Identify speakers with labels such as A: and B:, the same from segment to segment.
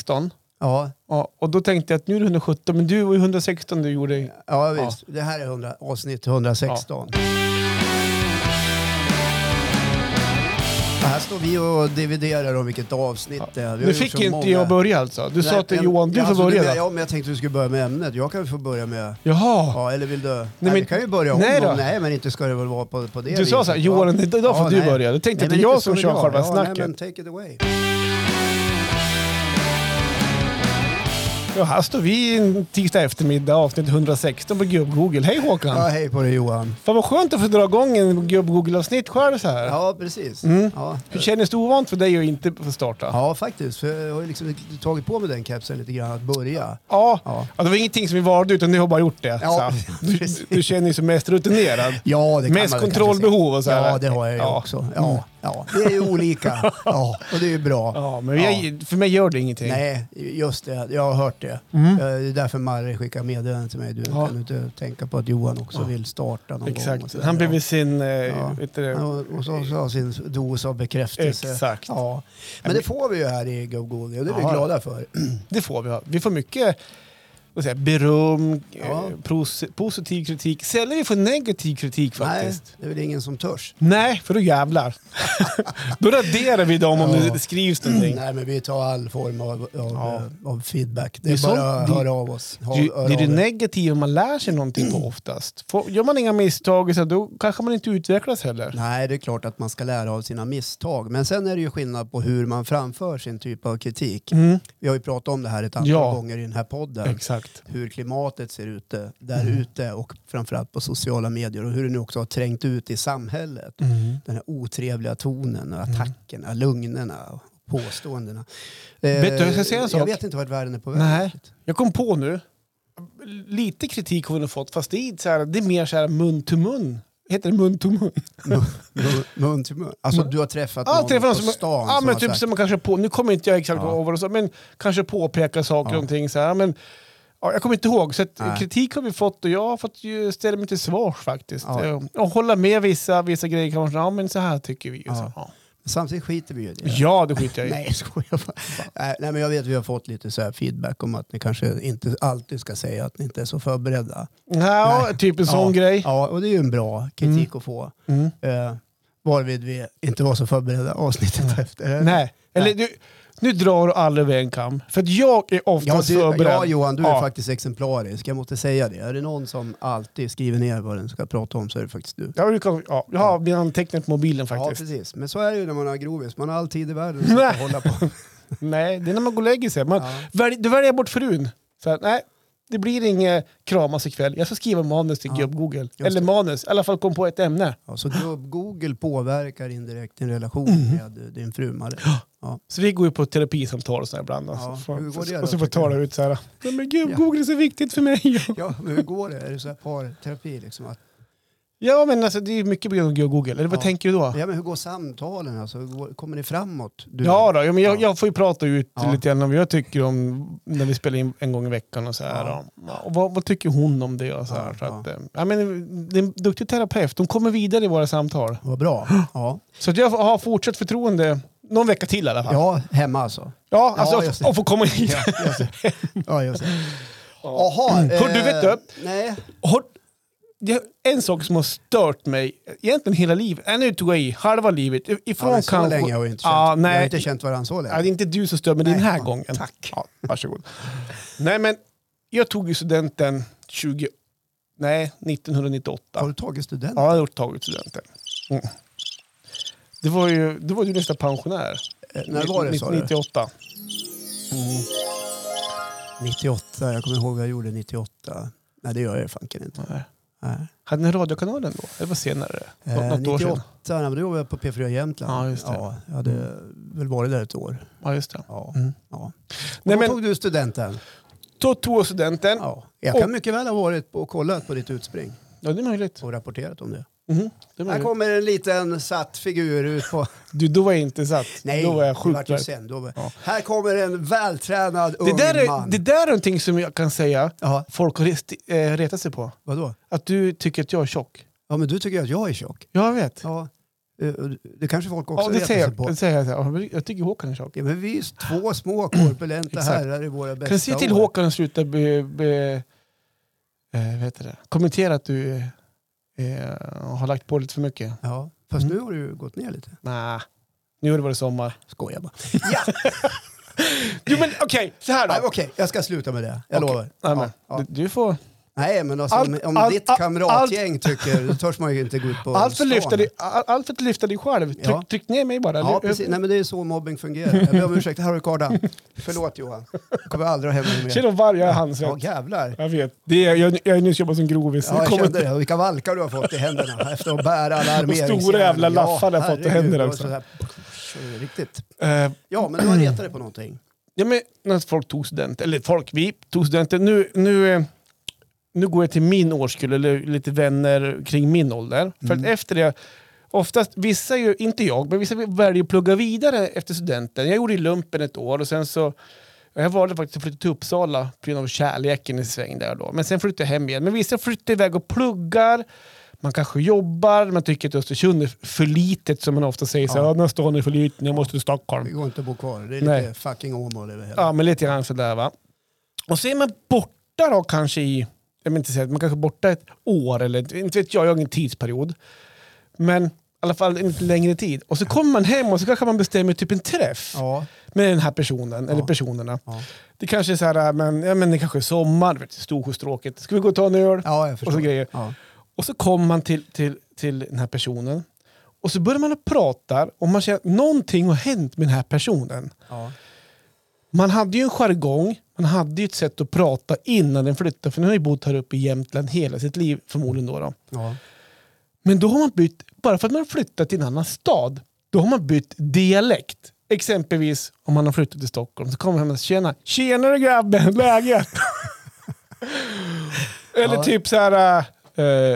A: 116.
B: Ja,
A: Ja, och då tänkte jag att nu är det 117, men du var ju 116 du gjorde.
B: ja visst. Det här är 100, avsnitt 116. Ja, Här står vi och dividerar om vilket avsnitt det är. Vi har
A: Nu
B: gjort
A: fick
B: så
A: inte
B: många.
A: jag börja alltså. Du sa
B: Nej,
A: till
B: men-
A: Johan, du
B: ja,
A: får
B: alltså,
A: börja.
B: Ja, men jag tänkte du skulle börja med ämnet. Jag kan ju få börja med...
A: Jaha!
B: Ja, eller vill du? Nej, men, vi
A: men-
B: kan ju börja om.
A: nej
B: Nej,
A: då.
B: nej men inte ska det väl vara på, på det
A: Du sa så här, Johan, idag får du börja. Då tänkte jag att det är jag som kör själva snacket.
B: Nej, men take it away.
A: Ja, här står vi en tisdag eftermiddag, avsnitt 116 på Gubb-Google. Hej Håkan!
B: Ja, hej på dig Johan.
A: Fan vad skönt att få dra igång en Gubb-Google-avsnitt själv så här.
B: Ja, precis.
A: Mm.
B: Ja.
A: Hur kändes det ovant för dig att inte få starta?
B: ja, faktiskt. För jag har ju liksom tagit på mig den kepsen lite grann att börja.
A: Ja.
B: Ja.
A: Ja, det var ingenting som vi valde utan du har bara gjort det.
B: Ja,
A: så. Du,
B: precis.
A: du känner dig som mest rutinerad.
B: Ja, det
A: Mest
B: kan man väl kanske
A: kontrollbehov
B: säga.
A: och så här.
B: Ja, det har jag ju
A: Ja. Mm.
B: också. Ja, ja. Det är ju olika. Ja, och det är ju bra.
A: Ja, men jag, för mig gör det ingenting.
B: Nej, just det. Jag har hört det. Eh, Det är därför Marre skickar meddelanden till mig. Du
A: Ja.
B: kan du inte tänka på att Johan också vill starta någon gång. och
A: Exakt.
B: sådär.
A: Han blev
B: Ja.
A: vid sin... Eh,
B: Ja.
A: vet du,
B: Ja,
A: det?
B: Och och så så har sin dos av bekräftelse.
A: Exakt.
B: Ja. Men det får vi ju här i GoGoGo och det är vi
A: Ja.
B: glada för.
A: det får vi ha. Vi får mycket vad säger, jag, beröm,
B: Ja.
A: eh, pros- positiv kritik. Sällan vi får negativ kritik
B: Nej,
A: faktiskt. Nej.
B: det är väl ingen som törs.
A: för då jävlar. då raderar vi dem om
B: Ja. Mm.
A: det skrivs någonting.
B: Nej, men vi tar all form av, av,
A: Mm. Ja.
B: eh, av feedback. Det
A: Det
B: är,
A: är
B: bara att
A: sånt-
B: höra av oss. Ha-
A: Det är ju-
B: höra
A: det är det
B: av er.
A: negativa man lär sig någonting på oftast. Får, gör man inga misstag så då kanske man inte utvecklas heller.
B: Nej, det är klart att man ska lära av sina misstag. Men sen är det ju skillnad på hur man framför sin typ av kritik.
A: Mm.
B: Vi har ju pratat om det här ett antal
A: Ja.
B: gånger i den här podden.
A: Exakt.
B: hur klimatet ser ut eh, där
A: Mm.
B: ute och framförallt på sociala medier och hur det nu också har trängt ut i samhället.
A: Mm.
B: Den här otrevliga tonen, och attackerna, lögnerna och påståendena. Eh,
A: Vet du, jag ska säga en
B: Jag
A: sak.
B: vet inte vart världen är på väg.
A: Nej. Jag kom på nu, lite kritik har hon fått fast det är, så här, det är mer så här mun till mun. Heter det mun till mun?
B: Mun- mun- mun till mun. Alltså du har träffat
A: Ja,
B: någon
A: träffar någon
B: på
A: som,
B: stan
A: ja,
B: som
A: men
B: har
A: typ
B: sagt,
A: som man kanske på, nu kommer inte jag exakt
B: Ja.
A: ihåg vad det sa, men kanske påpeka saker och ting så här, men ja, jag kommer inte ihåg. Så att,
B: Nej.
A: kritik har vi fått och jag har fått ju ställa mig till svars faktiskt.
B: Ja.
A: Eh, Och hålla med vissa, vissa grejer kanske, ja men så här tycker vi. och Så, ja.
B: Samtidigt skiter vi ju i det.
A: ja, det skiter jag i.
B: Nej, jag skojar bara. Nej, Nej, men jag vet att vi har fått lite så här feedback om att ni kanske inte alltid ska säga att ni inte är så förberedda.
A: Ja, typ en sån
B: ja,
A: grej.
B: Ja, och det är ju en bra kritik att få.
A: Mm.
B: Eh, varvid vi inte var så förberedda avsnittet efter.
A: Mm.
B: Eh,
A: Nej. Eller
B: Nej.
A: du, nu drar du alla över en kam. För att jag är
B: Ja,
A: oftast
B: du,
A: förberedd.
B: ja, Johan, du är
A: Ja.
B: faktiskt exemplarisk. Jag måste säga det. Är det någon som alltid skriver ner vad den ska prata om så är det faktiskt du.
A: Jag, brukar, ja, jag har mina anteckningar på mobilen
B: Ja,
A: faktiskt.
B: precis. Men så är det ju när man har grovis. Man har all tid i världen att sitta
A: Nej.
B: och hålla på.
A: Nej, det är när man går och lägger sig. Man,
B: Ja.
A: välj, då väljer jag bort frun. Så här, nej, det blir inget kramas ikväll. Jag ska skriva manus till
B: Ja.
A: Gubb-Google. Eller manus, i alla fall kom på ett ämne.
B: Ja, så gubb-Google påverkar indirekt din relation
A: Mm.
B: med din fru Marie. Ja.
A: Så vi går ju på ett terapisamtal och så här ibland. Alltså.
B: Ja,
A: Fan,
B: hur går det
A: och så
B: då,
A: får
B: tycker
A: tala
B: du?
A: ut så här. "Nej, Men Gubb-Google är så viktigt för mig.
B: ja, men hur går det? Är det så här parterapi? Liksom? Att,
A: ja, men alltså, det är mycket på grund av Gubb-Google. Eller vad
B: Ja.
A: tänker du då?
B: ja, men hur går samtalen? Alltså, hur går, kommer ni framåt? Du,
A: Ja, då, ja, men jag,
B: Ja.
A: jag får ju prata ut
B: Ja.
A: lite grann om vad jag tycker om när vi spelar in en gång i veckan. Och så här,
B: Ja.
A: och, och vad, vad tycker hon om det? Och så här,
B: Ja,
A: så att,
B: ja.
A: eh, ja. men, det är en duktig terapeut. De kommer vidare i våra samtal.
B: Vad bra. Ja.
A: Så att jag har fortsatt förtroende någon vecka till i alla fall. Ja,
B: ja, hemma alltså.
A: alltså,
B: Ja,
A: att-
B: just det.
A: att få komma hit.
B: Ja, just det. Ja, just det. Jaha. eh,
A: Hör Mm. du, vet du?
B: Nej.
A: Har, det är en sak som har stört mig egentligen hela livet. Äh, nu tog jag i halva livet. Ifrån
B: Ja, men så
A: kanske...
B: länge har vi inte känt.
A: Ja, nej.
B: Vi har inte känt varandra så länge.
A: Ja, det är inte du som stör mig den här
B: ja,
A: gången. Tack. Ja, varsågod. Nej, men jag tog ju studenten 20... Nej, 1998.
B: Har du tagit studenten?
A: Ja, jag har gjort- tagit studenten. Mm. Det var ju, det var ju nästan pensionär.
B: Eh, När var det sa du?
A: 98.
B: 98. Jag kommer ihåg vad jag gjorde 98. Nej, det gör jag fanken inte.
A: Nej.
B: Nej.
A: Hade ni radiokanalen då? Det var senare? Nå-
B: Eh,
A: Något år
B: 98.
A: sedan?
B: Nej, men då jobbade jag på P4 Jämtland.
A: Ja, just det.
B: Ja, jag hade väl varit där ett år.
A: Ja, just det.
B: Ja. ja. Och
A: Mm. Nej,
B: då
A: men-
B: tog du studenten.
A: Då tog jag studenten. Ja.
B: Ja. Jag kan
A: Och-
B: mycket väl ha varit på och kollat på ditt utspring
A: det är möjligt.
B: och rapporterat om det.
A: Mhm, det är
B: Här
A: möjligt.
B: kommer en liten satt figur ut på...
A: Du, då var jag inte satt.
B: Nej,
A: då var jag
B: det
A: sjukt
B: vart ju
A: rädd.
B: sen. Då var...
A: Ja.
B: Här kommer en vältränad
A: det
B: ung
A: där, är,
B: man.
A: det där är någonting som jag kan säga
B: Ja,
A: folk har rest- eh, retat sig på.
B: vadå?
A: Att du tycker att jag är tjock.
B: Ja, men du tycker att jag är tjock.
A: Jag vet.
B: Ja. Eh, och Det kanske folk också
A: Ja, det
B: retar
A: säger
B: sig på.
A: jag. Det säger jag, så här. Ja, jag tycker Håkan är tjock.
B: Ja, men vi är ju två små korpulenta
A: Exakt.
B: herrar i våra bästa
A: Kan du se till
B: år.
A: Håkan att sluta be, be, eh, vad heter det? kommentera att du eh, har lagt på lite för mycket?
B: Ja, fast
A: Mm.
B: nu har du ju gått ner lite.
A: Nej, nu har det varit sommar.
B: Skojar bara. Ja,
A: Jo men okej, så här då.
B: nej, okej, jag ska sluta med det. Jag
A: Okej.
B: lovar.
A: Nej,
B: Ja,
A: men,
B: ja.
A: Du, du får...
B: Nej, men alltså,
A: Allt-
B: om- om
A: allt-
B: ditt
A: allt-
B: kamratgäng tycker, då törs man ju inte gå ut på
A: Allt för,
B: stan.
A: att lyfta dig, all, allt för att lyfta dig själv. Tryck,
B: Ja.
A: tryck ner mig bara.
B: Ja,
A: Lyft-
B: precis. Nej, men det är ju så mobbing fungerar. Jag ber om ursäkt. Här har du kardan. Förlåt Johan. Jag kommer aldrig ha hem dig
A: Ser
B: mer.
A: du varje ja. handsvett?
B: Ja, jävlar.
A: Jag vet. Det är, jag, jag har nyss jobbat som grovis.
B: Ja,
A: Det
B: jag
A: kommer
B: kände det. Vilka valkar du har fått i händerna efter att bära alla armeringsjärn.
A: stora jävla laffar du har fått i
B: herregud.
A: händerna
B: Och
A: också.
B: så här- så är det Riktigt.
A: Eh,
B: Ja, men du har retat dig på någonting.
A: ja, men när folk tog studenten, eller folk, vi tog studenten. Nu, nu, eh, nu går jag till min årskull, eller lite vänner kring min ålder. För att
B: Mm.
A: efter det, oftast, vissa är ju, inte jag, men vissa väljer att plugga vidare efter studenten. Jag gjorde ju lumpen ett år och sen så jag valde faktiskt att flytta till Uppsala på grund av kärleken i sväng där då. Men sen flyttade jag hem igen. Men vissa flyttar iväg och pluggar, man kanske jobbar, man tycker att Östersund är för litet som man ofta säger. Så,
B: Ja.
A: här, den här stan är för liten, jag måste till Stockholm.
B: Det går inte att bo kvar. Det är lite
A: Nej.
B: fucking Åmål över hela.
A: Ja, men lite grann sådär va. Och så är man borta då kanske i, jag vill inte säga, man kanske är borta ett år eller inte vet jag, jag har ingen tidsperiod. Men i alla fall en lite längre tid. Och så kommer man hem och så kanske man bestämmer typ en träff
B: Ja.
A: med den här personen eller
B: Ja.
A: personerna.
B: Ja.
A: Det kanske är så här, äh, men, ja, men det kanske är sommar, du vet, Storsjöstråket. Ska vi gå och ta en öl?
B: ja, jag
A: och så
B: förstår.
A: grejer.
B: Ja.
A: Och så kommer man till, till, till den här personen. Och så börjar man att prata och man känner att någonting har hänt med den här personen.
B: Ja.
A: Man hade ju en jargong, man hade ju ett sätt att prata innan den flyttade. För den har ju bott här uppe i Jämtland hela sitt liv förmodligen. Då då.
B: Ja.
A: Men då har man bytt, bara för att man har flyttat till en annan stad, då har man bytt dialekt. Exempelvis om man har flyttat till Stockholm så kommer man hem och säger tjena, tjenare grabben, läget? Eller
B: Ja.
A: typ så här,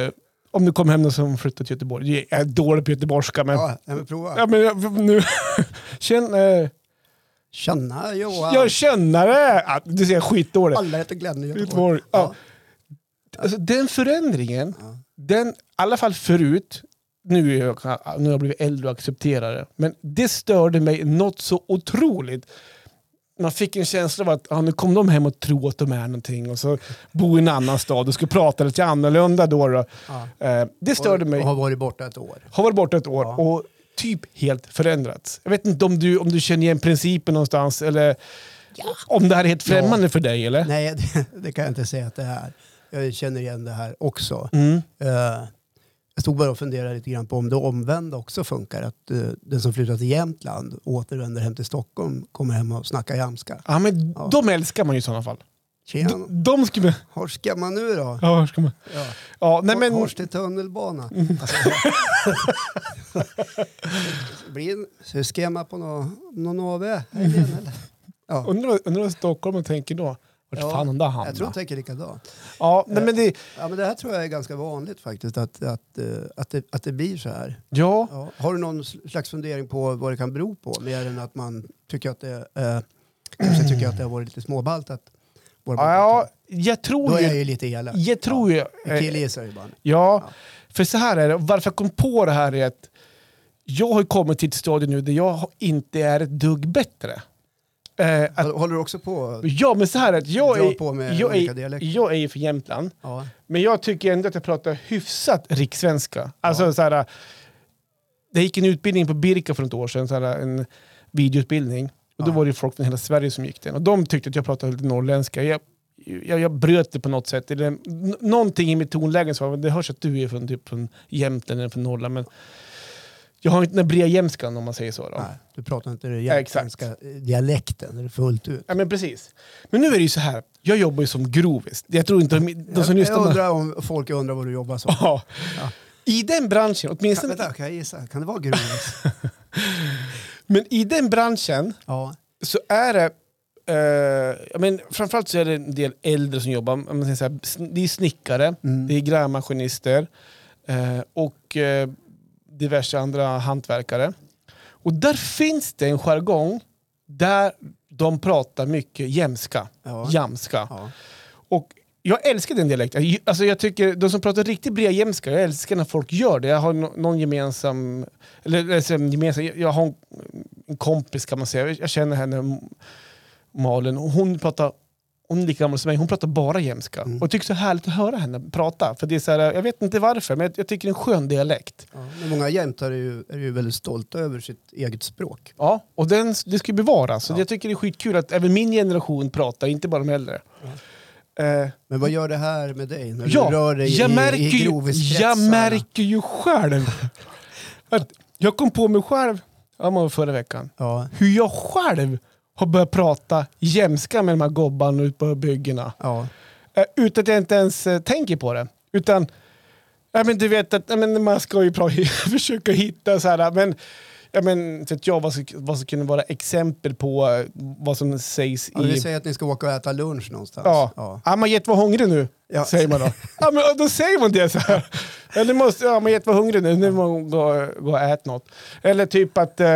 A: eh, om du kommer hem någon som flyttat till Göteborg. Jag är dålig på göteborgska men, ja.
B: Ja, nej, men prova.
A: men jag, nu, Tjen, eh,
B: Tjena Johan.
A: jag känner det. Ja, du ser skitdåligt.
B: Alla heter Glenn i Göteborg.
A: Göteborg. Ja. Alltså, den förändringen,
B: Ja.
A: den, i alla fall förut, nu, är jag, nu har jag blivit äldre och accepterar det, men det störde mig något så otroligt. Man fick en känsla av att ja, nu kom de hem och tror att de är någonting och så bor i en annan stad och ska prata lite annorlunda då. då.
B: Ja.
A: Eh, det störde
B: och,
A: mig.
B: Och har varit borta ett år.
A: Har varit borta ett år
B: Ja.
A: och typ helt förändrats. Jag vet inte om du, om du känner igen principen någonstans eller om det här är helt främmande för dig eller?
B: Nej, det, det kan jag inte säga att det är. Jag känner igen det här också.
A: Mm.
B: Eh, jag stod bara och funderade lite grann på om det omvända också funkar. Att eh, den som flyttar till Jämtland återvänder hem till Stockholm, kommer hem och snackar jamska.
A: Ja, men
B: Ja.
A: de älskar man ju i sådana fall.
B: Tjena,
A: De, de ska man...
B: hur ska man nu då?
A: Ja, hur ska man...
B: Ja.
A: Ja, nej
B: Nej,
A: men... Mm.
B: Hors till tunnelbana. Alltså, det blir en så skrämma på någon, någon AV. Eller? Ja,
A: Undrar vad- undrar vad stockholmare tänker då. Vart
B: Ja,
A: fan har det
B: jag tror de
A: hamnat?
B: tänker likadant.
A: Ja, nej men det...
B: Ja, men det här tror jag är ganska vanligt faktiskt, att, att, eh, att, det, att det blir så här.
A: Ja.
B: Ja. Har du någon sl- slags fundering på vad det kan bero på? Mer än att man tycker att det, eh, kanske tycker att det har varit lite småbaltat. Våra
A: Ja, ja, jag
B: Då
A: tror
B: är jag
A: ju...
B: ju lite elak.
A: Jag tror ju...
B: Jag
A: eh,
B: killgissar ju bara.
A: Ja, för så här är det. Varför jag kom på det här är att jag har kommit till ett stadie nu där jag har- inte är ett dugg bättre. Eh, att,
B: Håller du också på?
A: ja, men så här är att jag
B: Dra
A: är,
B: på med
A: jag,
B: olika
A: är,
B: dialekter.
A: jag är ju från Jämtland.
B: Ja.
A: Men jag tycker ändå att jag pratar hyfsat rikssvenska. Alltså så här, det gick en utbildning på Birka för något år sedan, så här, en videoutbildning. Och då
B: Ja.
A: var det ju folk från hela Sverige som gick den. Och de tyckte att jag pratade lite norrländska. Jag, jag, jag bröt det på något sätt. Eller, n- någonting i mitt tonläge sa men det hörs att du är från, typ, från Jämtland eller från Norrland. Men jag har inte den breda jämskan om man säger så. Då.
B: Nej, du pratar inte den
A: Ja, exakt.
B: jämtländska dialekten är det fullt ut.
A: Ja, men precis. Men nu är det ju så här, jag jobbar ju som grovis. Jag tror inte de, de som
B: jag,
A: lyssnar...
B: jag
A: på-
B: undrar om folk undrar vad du jobbar som.
A: Ja.
B: Ja.
A: I den branschen,
B: Kan,
A: åtminstone
B: vänta, kan jag gissa? Kan det vara grovis?
A: Men i den branschen
B: ja.
A: så är det... Eh, jag men, framförallt så är det en del äldre som jobbar. Om Man säger så här, sn- det är snickare,
B: Mm.
A: det är grävmaskinister eh, och eh, diverse andra hantverkare. Och där finns det en jargong där de pratar mycket jämska.
B: Ja.
A: Jamska.
B: Ja.
A: Och Jag älskar den dialekten. Jag- Alltså jag tycker, de som pratar riktigt brejemska, jag älskar när folk gör det. Jag har no- någon gemensam, eller alltså, gemensam, jag- jag har en, en kompis kan man säga. Jag- Jag känner henne, M- Malin, och hon pratar, hon är lika gammal som mig, hon pratar bara jämska. Och jag tycker det är så härligt att höra henne prata. För det är så här, jag vet inte varför, men jag, jag tycker det är en skön dialekt.
B: Ja, men många jämtar är ju, är ju väldigt stolta över sitt eget språk.
A: Ja, och den, det ska ju bevaras. Så
B: Ja.
A: jag tycker det är skitkul att även min generation pratar, inte bara de äldre. Eh,
B: Men vad gör det här med dig när
A: Ja,
B: du rör dig
A: jag,
B: i,
A: märker
B: i
A: ju, jag
B: groviskretsarna?
A: märker ju själv att jag kom på mig själv ja, men förra veckan.
B: Ja,
A: Hur jag själv har börjat prata jämska med de här gobbarna ute på byggena.
B: ja.
A: Eh, utan att jag inte ens eh, tänker på det. Utan, ja, men du vet att ja, men man ska ju pra- försöka hitta så här, men, ja, men, vet jag vad som, vad som kunde vara exempel på eh, vad som sägs
B: ja
A: i...
B: vi säger att ni ska åka och äta lunch någonstans.
A: Ja.
B: Ja.
A: Amajet var hungrig nu,
B: Ja.
A: säger man då. ja, men, då säger man det så här. Eller måste Amajet var hungrig nu, nu måste man gå, gå och äta något. Eller typ att eh,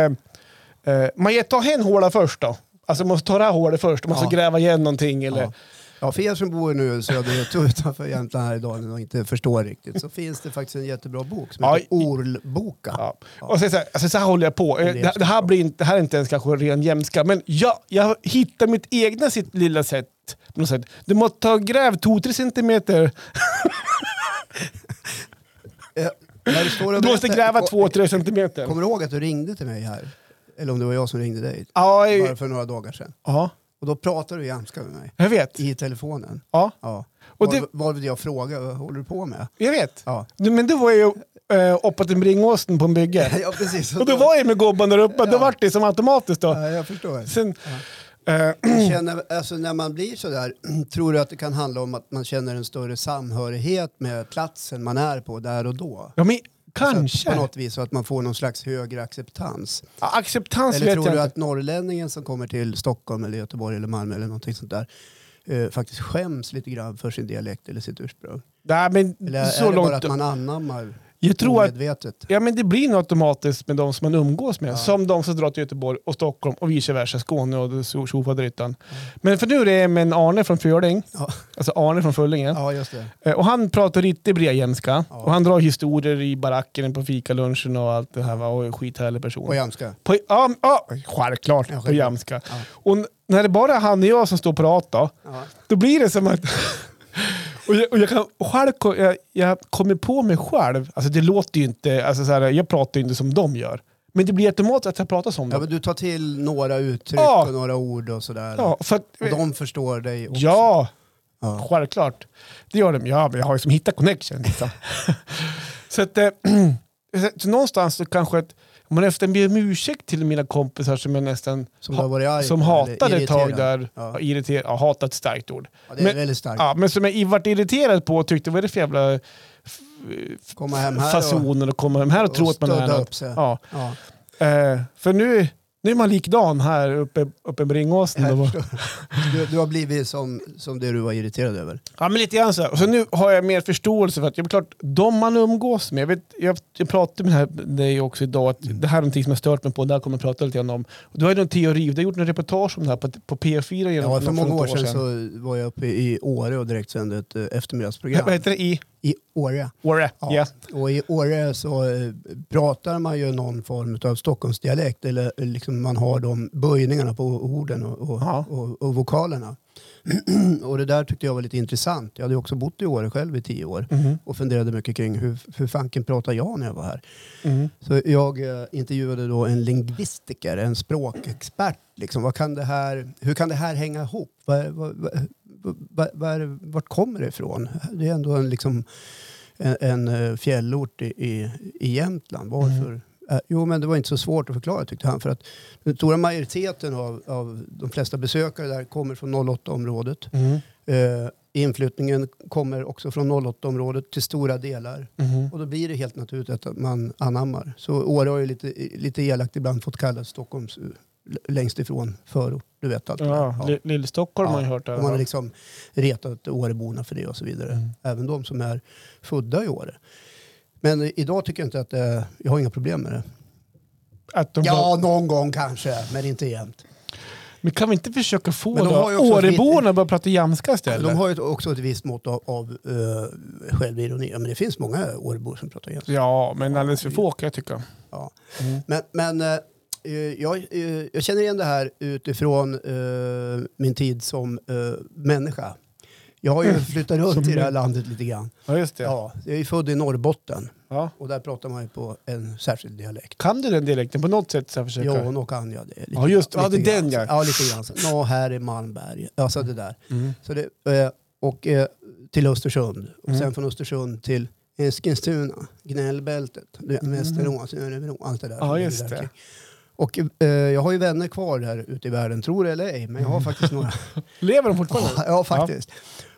A: eh, Majet, ta hen håla först då. Alltså man måste ta det här hålet först, man måste
B: Ja.
A: gräva igen någonting. Eller,
B: Ja. Ja, för er som bor nu söderut och utanför Jämtland här i dalen och inte förstår riktigt så finns det faktiskt en jättebra bok som
A: Ja,
B: heter Orlboka.
A: Ja. Och sen så, här, alltså så här håller jag på. Eh, Det, det, här blir inte, det här är inte ens kanske ren jämska, men jag, jag hittar mitt egna sitt lilla sätt. på något sätt. Du måste ta gräv 2-3 centimeter,
B: Eh, när du står och
A: du måste
B: berättar-
A: gräva 2-3 centimeter.
B: Kommer du ihåg att du ringde till mig här? Eller om det var jag som ringde dig?
A: Ja, eh,
B: Bara för några dagar sedan.
A: ja,
B: Och då pratade du jämska med mig
A: jag vet.
B: i telefonen.
A: Ja.
B: Ja.
A: Och
B: Och
A: det-
B: det... Varvid jag frågade vad håller du på med?
A: Jag vet.
B: Ja,
A: Du, Men då var jag ju eh, uppe till Bringåsen på en bygge.
B: ja precis.
A: Och då var jag med gobban där uppe, då vart det som automatiskt då.
B: ja, jag förstår.
A: Sen, eh,
B: Jag Känner, alltså när man blir sådär, tror du att det kan handla om att man känner en större samhörighet med platsen man är på där och då?
A: ja, men
B: Så att på
A: kanske.
B: något vis så att man får någon slags högre acceptans.
A: Ja, Acceptans
B: Eller
A: vet
B: tror
A: jag
B: du
A: inte.
B: att norrlänningen som kommer till Stockholm eller Göteborg eller Malmö eller någonting sånt där eh, faktiskt skäms lite grann för sin dialekt eller sitt ursprung?
A: Nej,
B: Eller
A: men
B: är
A: så
B: det bara
A: långt.
B: att man anammar
A: Jag tror att
B: medvetet?
A: ja, men det blir nog automatiskt med de som man umgås med. Som de som drar till Göteborg och Stockholm och vice versa, Skåne och so- tjofaderittan. Men för nu är det med en Arne från Fjöling,
B: Ja,
A: alltså Arne från Föllinge.
B: ja just det.
A: Eh, Och han pratar riktigt brejämska.
B: Ja.
A: Och han drar historier i baracken på fikalunchen och allt det här. Va? Och är en skithärlig person.
B: På jämska.
A: På, ja, ja, självklart
B: Ja,
A: på
B: självklart.
A: jamska. Och n- när det bara är han och jag som står och pratar,
B: Ja.
A: då blir det som att... och jag, och jag, kan, själv, ko- jag, jag kommer på mig själv, alltså det låter ju inte, alltså så här, jag pratar ju inte som de gör. Men det blir automatiskt att jag pratar som
B: Ja,
A: dem.
B: men du tar till några uttryck
A: Ja.
B: och några ord och sådär.
A: Ja, för att,
B: Och de förstår dig också.
A: ja,
B: Ja.
A: självklart. Det gör de. Ja, men jag har ju som hittat connection. Liksom. så att, eh, så, så någonstans så kanske att, om man efter ber om ursäkt till mina kompisar som jag nästan
B: Som du har varit arg
A: som
B: på, eller
A: hatade ett tag
B: irriterad.
A: där. Ja.
B: Ja.
A: Irriterad, ja, hatat ett starkt ord.
B: Ja, det är
A: men-
B: väldigt starkt.
A: Ja, men som jag i- vart irriterad på och tyckte vad är det för jävla f- f-
B: Komma hem här och,
A: fasoner och komma hem här och, tro
B: och
A: att man är
B: stödda
A: något.
B: upp sig.
A: Ja.
B: Ja.
A: Eh, för nu, nu är man likadan här uppe, uppe på Ringåsen.
B: Jag
A: Då.
B: förstår. Du, du har blivit som, som det du var irriterad över.
A: Ja, men lite grann så här. Och så nu har jag mer förståelse för att, jag klart, de man umgås med, jag, vet, jag, jag pratade med den här, dig också idag, att det här är någonting som jag stört mig på, det här kommer jag prata lite grann om. Och du har ju någon teori, du har gjort en reportage om det här på, på P4 genom
B: Ja, för
A: något
B: många år sedan, så var jag uppe i Åre och direkt sände ett eh, eftermiddagsprogram.
A: Vad heter det? I
B: I Åre.
A: Åre? Ja.
B: Och i Åre så eh, pratar man ju någon form av Stockholmsdialekt eller eh, liksom man har de böjningarna på orden och, och,
A: Ja.
B: och, och vokalerna. och det där tyckte jag var lite intressant. Jag hade ju också bott i Åre själv i tio år
A: Mhm.
B: och funderade mycket kring hur, hur fanken pratar jag när jag var här.
A: Mhm.
B: Så jag eh, intervjuade då en lingvistiker, en språkexpert. Liksom. Vad kan det här, hur kan det här hänga ihop? Vad, vad, vad, vad, vad är det, vart kommer det ifrån? Det är ändå en, liksom, en, en eh, fjällort i, i, i Jämtland. Varför? Eh, Jo, men det var inte så svårt att förklara tyckte han. För att den stora majoriteten av, av de flesta besökare där kommer från 08-området.
A: Mhm.
B: Eh, inflyttningen kommer också från 08-området till stora delar.
A: Mhm.
B: Och då blir det helt naturligt att man anammar. Så Åre har ju lite, lite elakt ibland fått kallas Stockholms eh, l- längst ifrån förort. Du vet allt det där.
A: Ja, Li- Lill-Stockholm har man ju hört.
B: Och man har
A: Det.
B: liksom retat Åreborna för det och så vidare.
A: Mm.
B: Även de som är födda i Åre. Men idag tycker jag inte att det, jag har inga problem med det.
A: Att de
B: Ja, någon gång kanske, men inte jämt.
A: Men kan vi inte försöka få
B: Men de har ju
A: då
B: också ett
A: Åreborna att börja prata jamska istället?
B: De har ju också ett visst mått av, av eh, självironi. Ja, men det finns många Årebor som pratar jänska.
A: Ja, men alldeles för få kan jag tycka.
B: Ja.
A: Mm.
B: Men, men eh, eh, jag, eh, jag känner igen det här utifrån eh, min tid som eh, människa. Jag har ju flyttat runt
A: Mm. Som
B: i det här landet lite grann.
A: Ja, just det. Ja.
B: Ja, jag är ju född i Norrbotten och där pratar man ju på en särskild dialekt.
A: Kan du den dialekten på något sätt? Så här försöka?
B: Jo, nog kan jag det. Lite
A: Ja, just det.
B: grann.
A: Ja, det är
B: Lite
A: den,
B: grann.
A: ja.
B: Ja, lite grann. Så, Nå, här är Malmberg. Alltså det där.
A: Mm.
B: Så det, eh, och eh, till Östersund. Och
A: Mm.
B: sen från Östersund till Eskilstuna, Gnällbältet, du vet, Västerås, Örebro, allt det där.
A: Mm. Ja,
B: som ligger
A: just
B: där
A: det.
B: omkring. Och eh, jag har ju vänner kvar här ute i världen, tror det eller ej, men jag har
A: Mm.
B: faktiskt några.
A: Lever de fortfarande?
B: ja, faktiskt.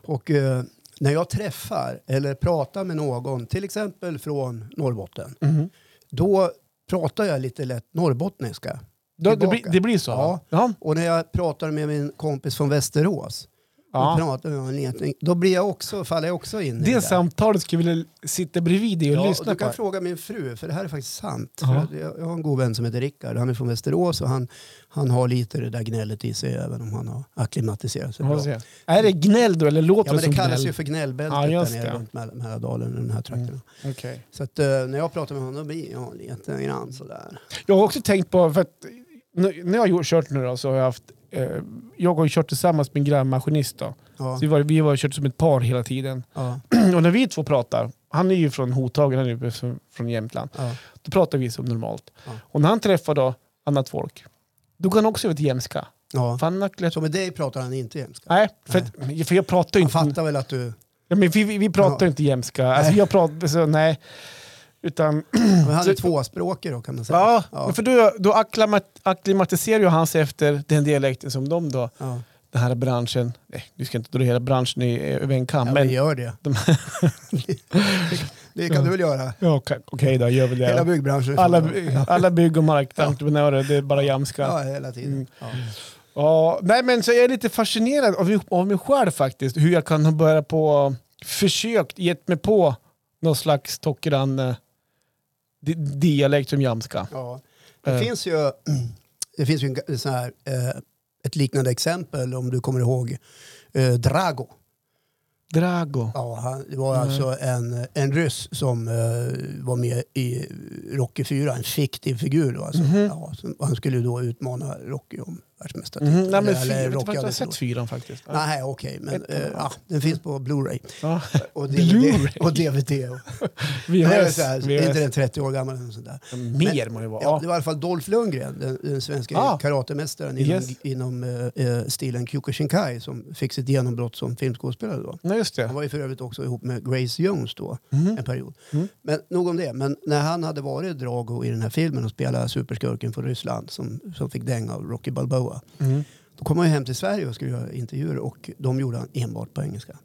B: Och eh, när jag träffar eller pratar med någon, till exempel från Norrbotten,
A: Mhm.
B: då pratar jag lite lätt norrbottniska.
A: Då, det, blir-
B: Tillbaka.
A: det blir så?
B: Ja.
A: ja.
B: Och när jag pratar med min kompis från Västerås,
A: ja.
B: då, pratar jag lite, då blir jag också, faller jag också in i
A: Det
B: där.
A: samtalet skulle jag vilja sitta bredvid dig och
B: Ja, och
A: lyssna
B: du kan
A: på.
B: fråga min fru, för det här är faktiskt sant.
A: Ja.
B: För att jag jag har en god vän som heter Rickard. Han är från Västerås och han, han har lite det där gnället i sig även om han har acklimatiserat sig bra.
A: Ja, se. Är det gnäll då eller låter
B: Ja, men
A: det som
B: det kallas
A: gnäll?
B: ju för gnällbältet
A: Ja, just
B: där nere
A: det. Mm.
B: runt Mäl- Mälardalen och de här trakterna.
A: Okej.
B: Så att, eh, när jag pratar med honom då blir jag lite grann sådär.
A: Jag har också tänkt på, för att nu- när jag har gjort- kört nu då så har jag haft, eh, jag har ju kört tillsammans med en grannmaskinist då.
B: Ja,
A: Så vi, var, vi har kört som ett par hela tiden.
B: ja,
A: Och när vi två pratar, han är ju från Hotagen, han är ju från- från Jämtland.
B: ja.
A: Då pratar vi som normalt.
B: Ja.
A: Och när han träffar då annat folk, då går han också över till jämska.
B: ja.
A: För han har klätt-
B: Så med dig pratar han inte jämska.
A: Nej, för, att, för jag pratar ju
B: Han
A: inte...
B: fattar väl att du...
A: Ja, men vi, vi- vi pratar
B: Ja.
A: ju inte jämska. Alltså,
B: Nej.
A: jag pratar, så, nej. Utan,
B: Men han är
A: Så-
B: tvåspråkig då kan man säga.
A: ja,
B: Ja.
A: men för då, då akklimat, akklimatiserar ju han sig efter den dialekten som de då,
B: Ja.
A: den här branschen, nej du ska inte dra hela branschen i, över en kam,
B: Ja, men
A: men
B: gör det. det kan du väl göra?
A: ja, okej okej då, gör väl
B: Hela
A: det.
B: byggbranschen.
A: Alla, by- alla bygg och markentreprenörer, det är bara jamska.
B: Ja, hela tiden.
A: Mm.
B: Ja.
A: Ja, nej men så jag är lite fascinerad av, av mig själv faktiskt. Hur jag kan ha börjat på, försökt, gett mig på någon slags Tokkeran dialekt som jamska.
B: Ja. Det,
A: Eh.
B: finns ju, det finns ju en, g- sån här, eh, ett liknande exempel om du kommer ihåg eh, Drago.
A: Drago.
B: Ja, han, det var
A: Mm.
B: alltså en, en ryss som eh, var med i Rocky 4, en fiktiv figur. Då, alltså.
A: Mhm.
B: ja, som, han skulle ju då utmana Rocky om världsmästartiteln.
A: Mm, nej, men
B: Eller
A: fyra, jag vet
B: Rocky
A: inte om jag har
B: hade
A: sett
B: förlorat.
A: fyran faktiskt. Ja.
B: Nej, okej. men
A: Ett-
B: eh, ja, den finns på Blu-ray.
A: Ja.
B: Och DVD.
A: Blu-ray?
B: Och DVD och,
A: Vi
B: nej,
A: hörs.
B: så här,
A: Vi
B: är inte
A: hörs.
B: den 30 år gammal? Eller sånt där.
A: Mer må det vara.
B: Ja,
A: Ja,
B: det var i alla fall Dolph Lundgren, den, den svenska
A: Ah.
B: karatemästaren inom,
A: Yes.
B: inom eh, stilen Kyokushinkai som fick sitt genombrott som filmskådespelare då.
A: Nej, just
B: Han
A: det.
B: var ju för övrigt också ihop med Grace Jones då,
A: Mhm.
B: en period.
A: Mm.
B: Men nog om det. Men när han hade varit Drago i den här filmen och spelat superskurken från Ryssland som, som fick dänga av Rocky Balboa.
A: Mm.
B: Då kom han ju hem till Sverige och skulle göra intervjuer och de gjorde han enbart på engelska.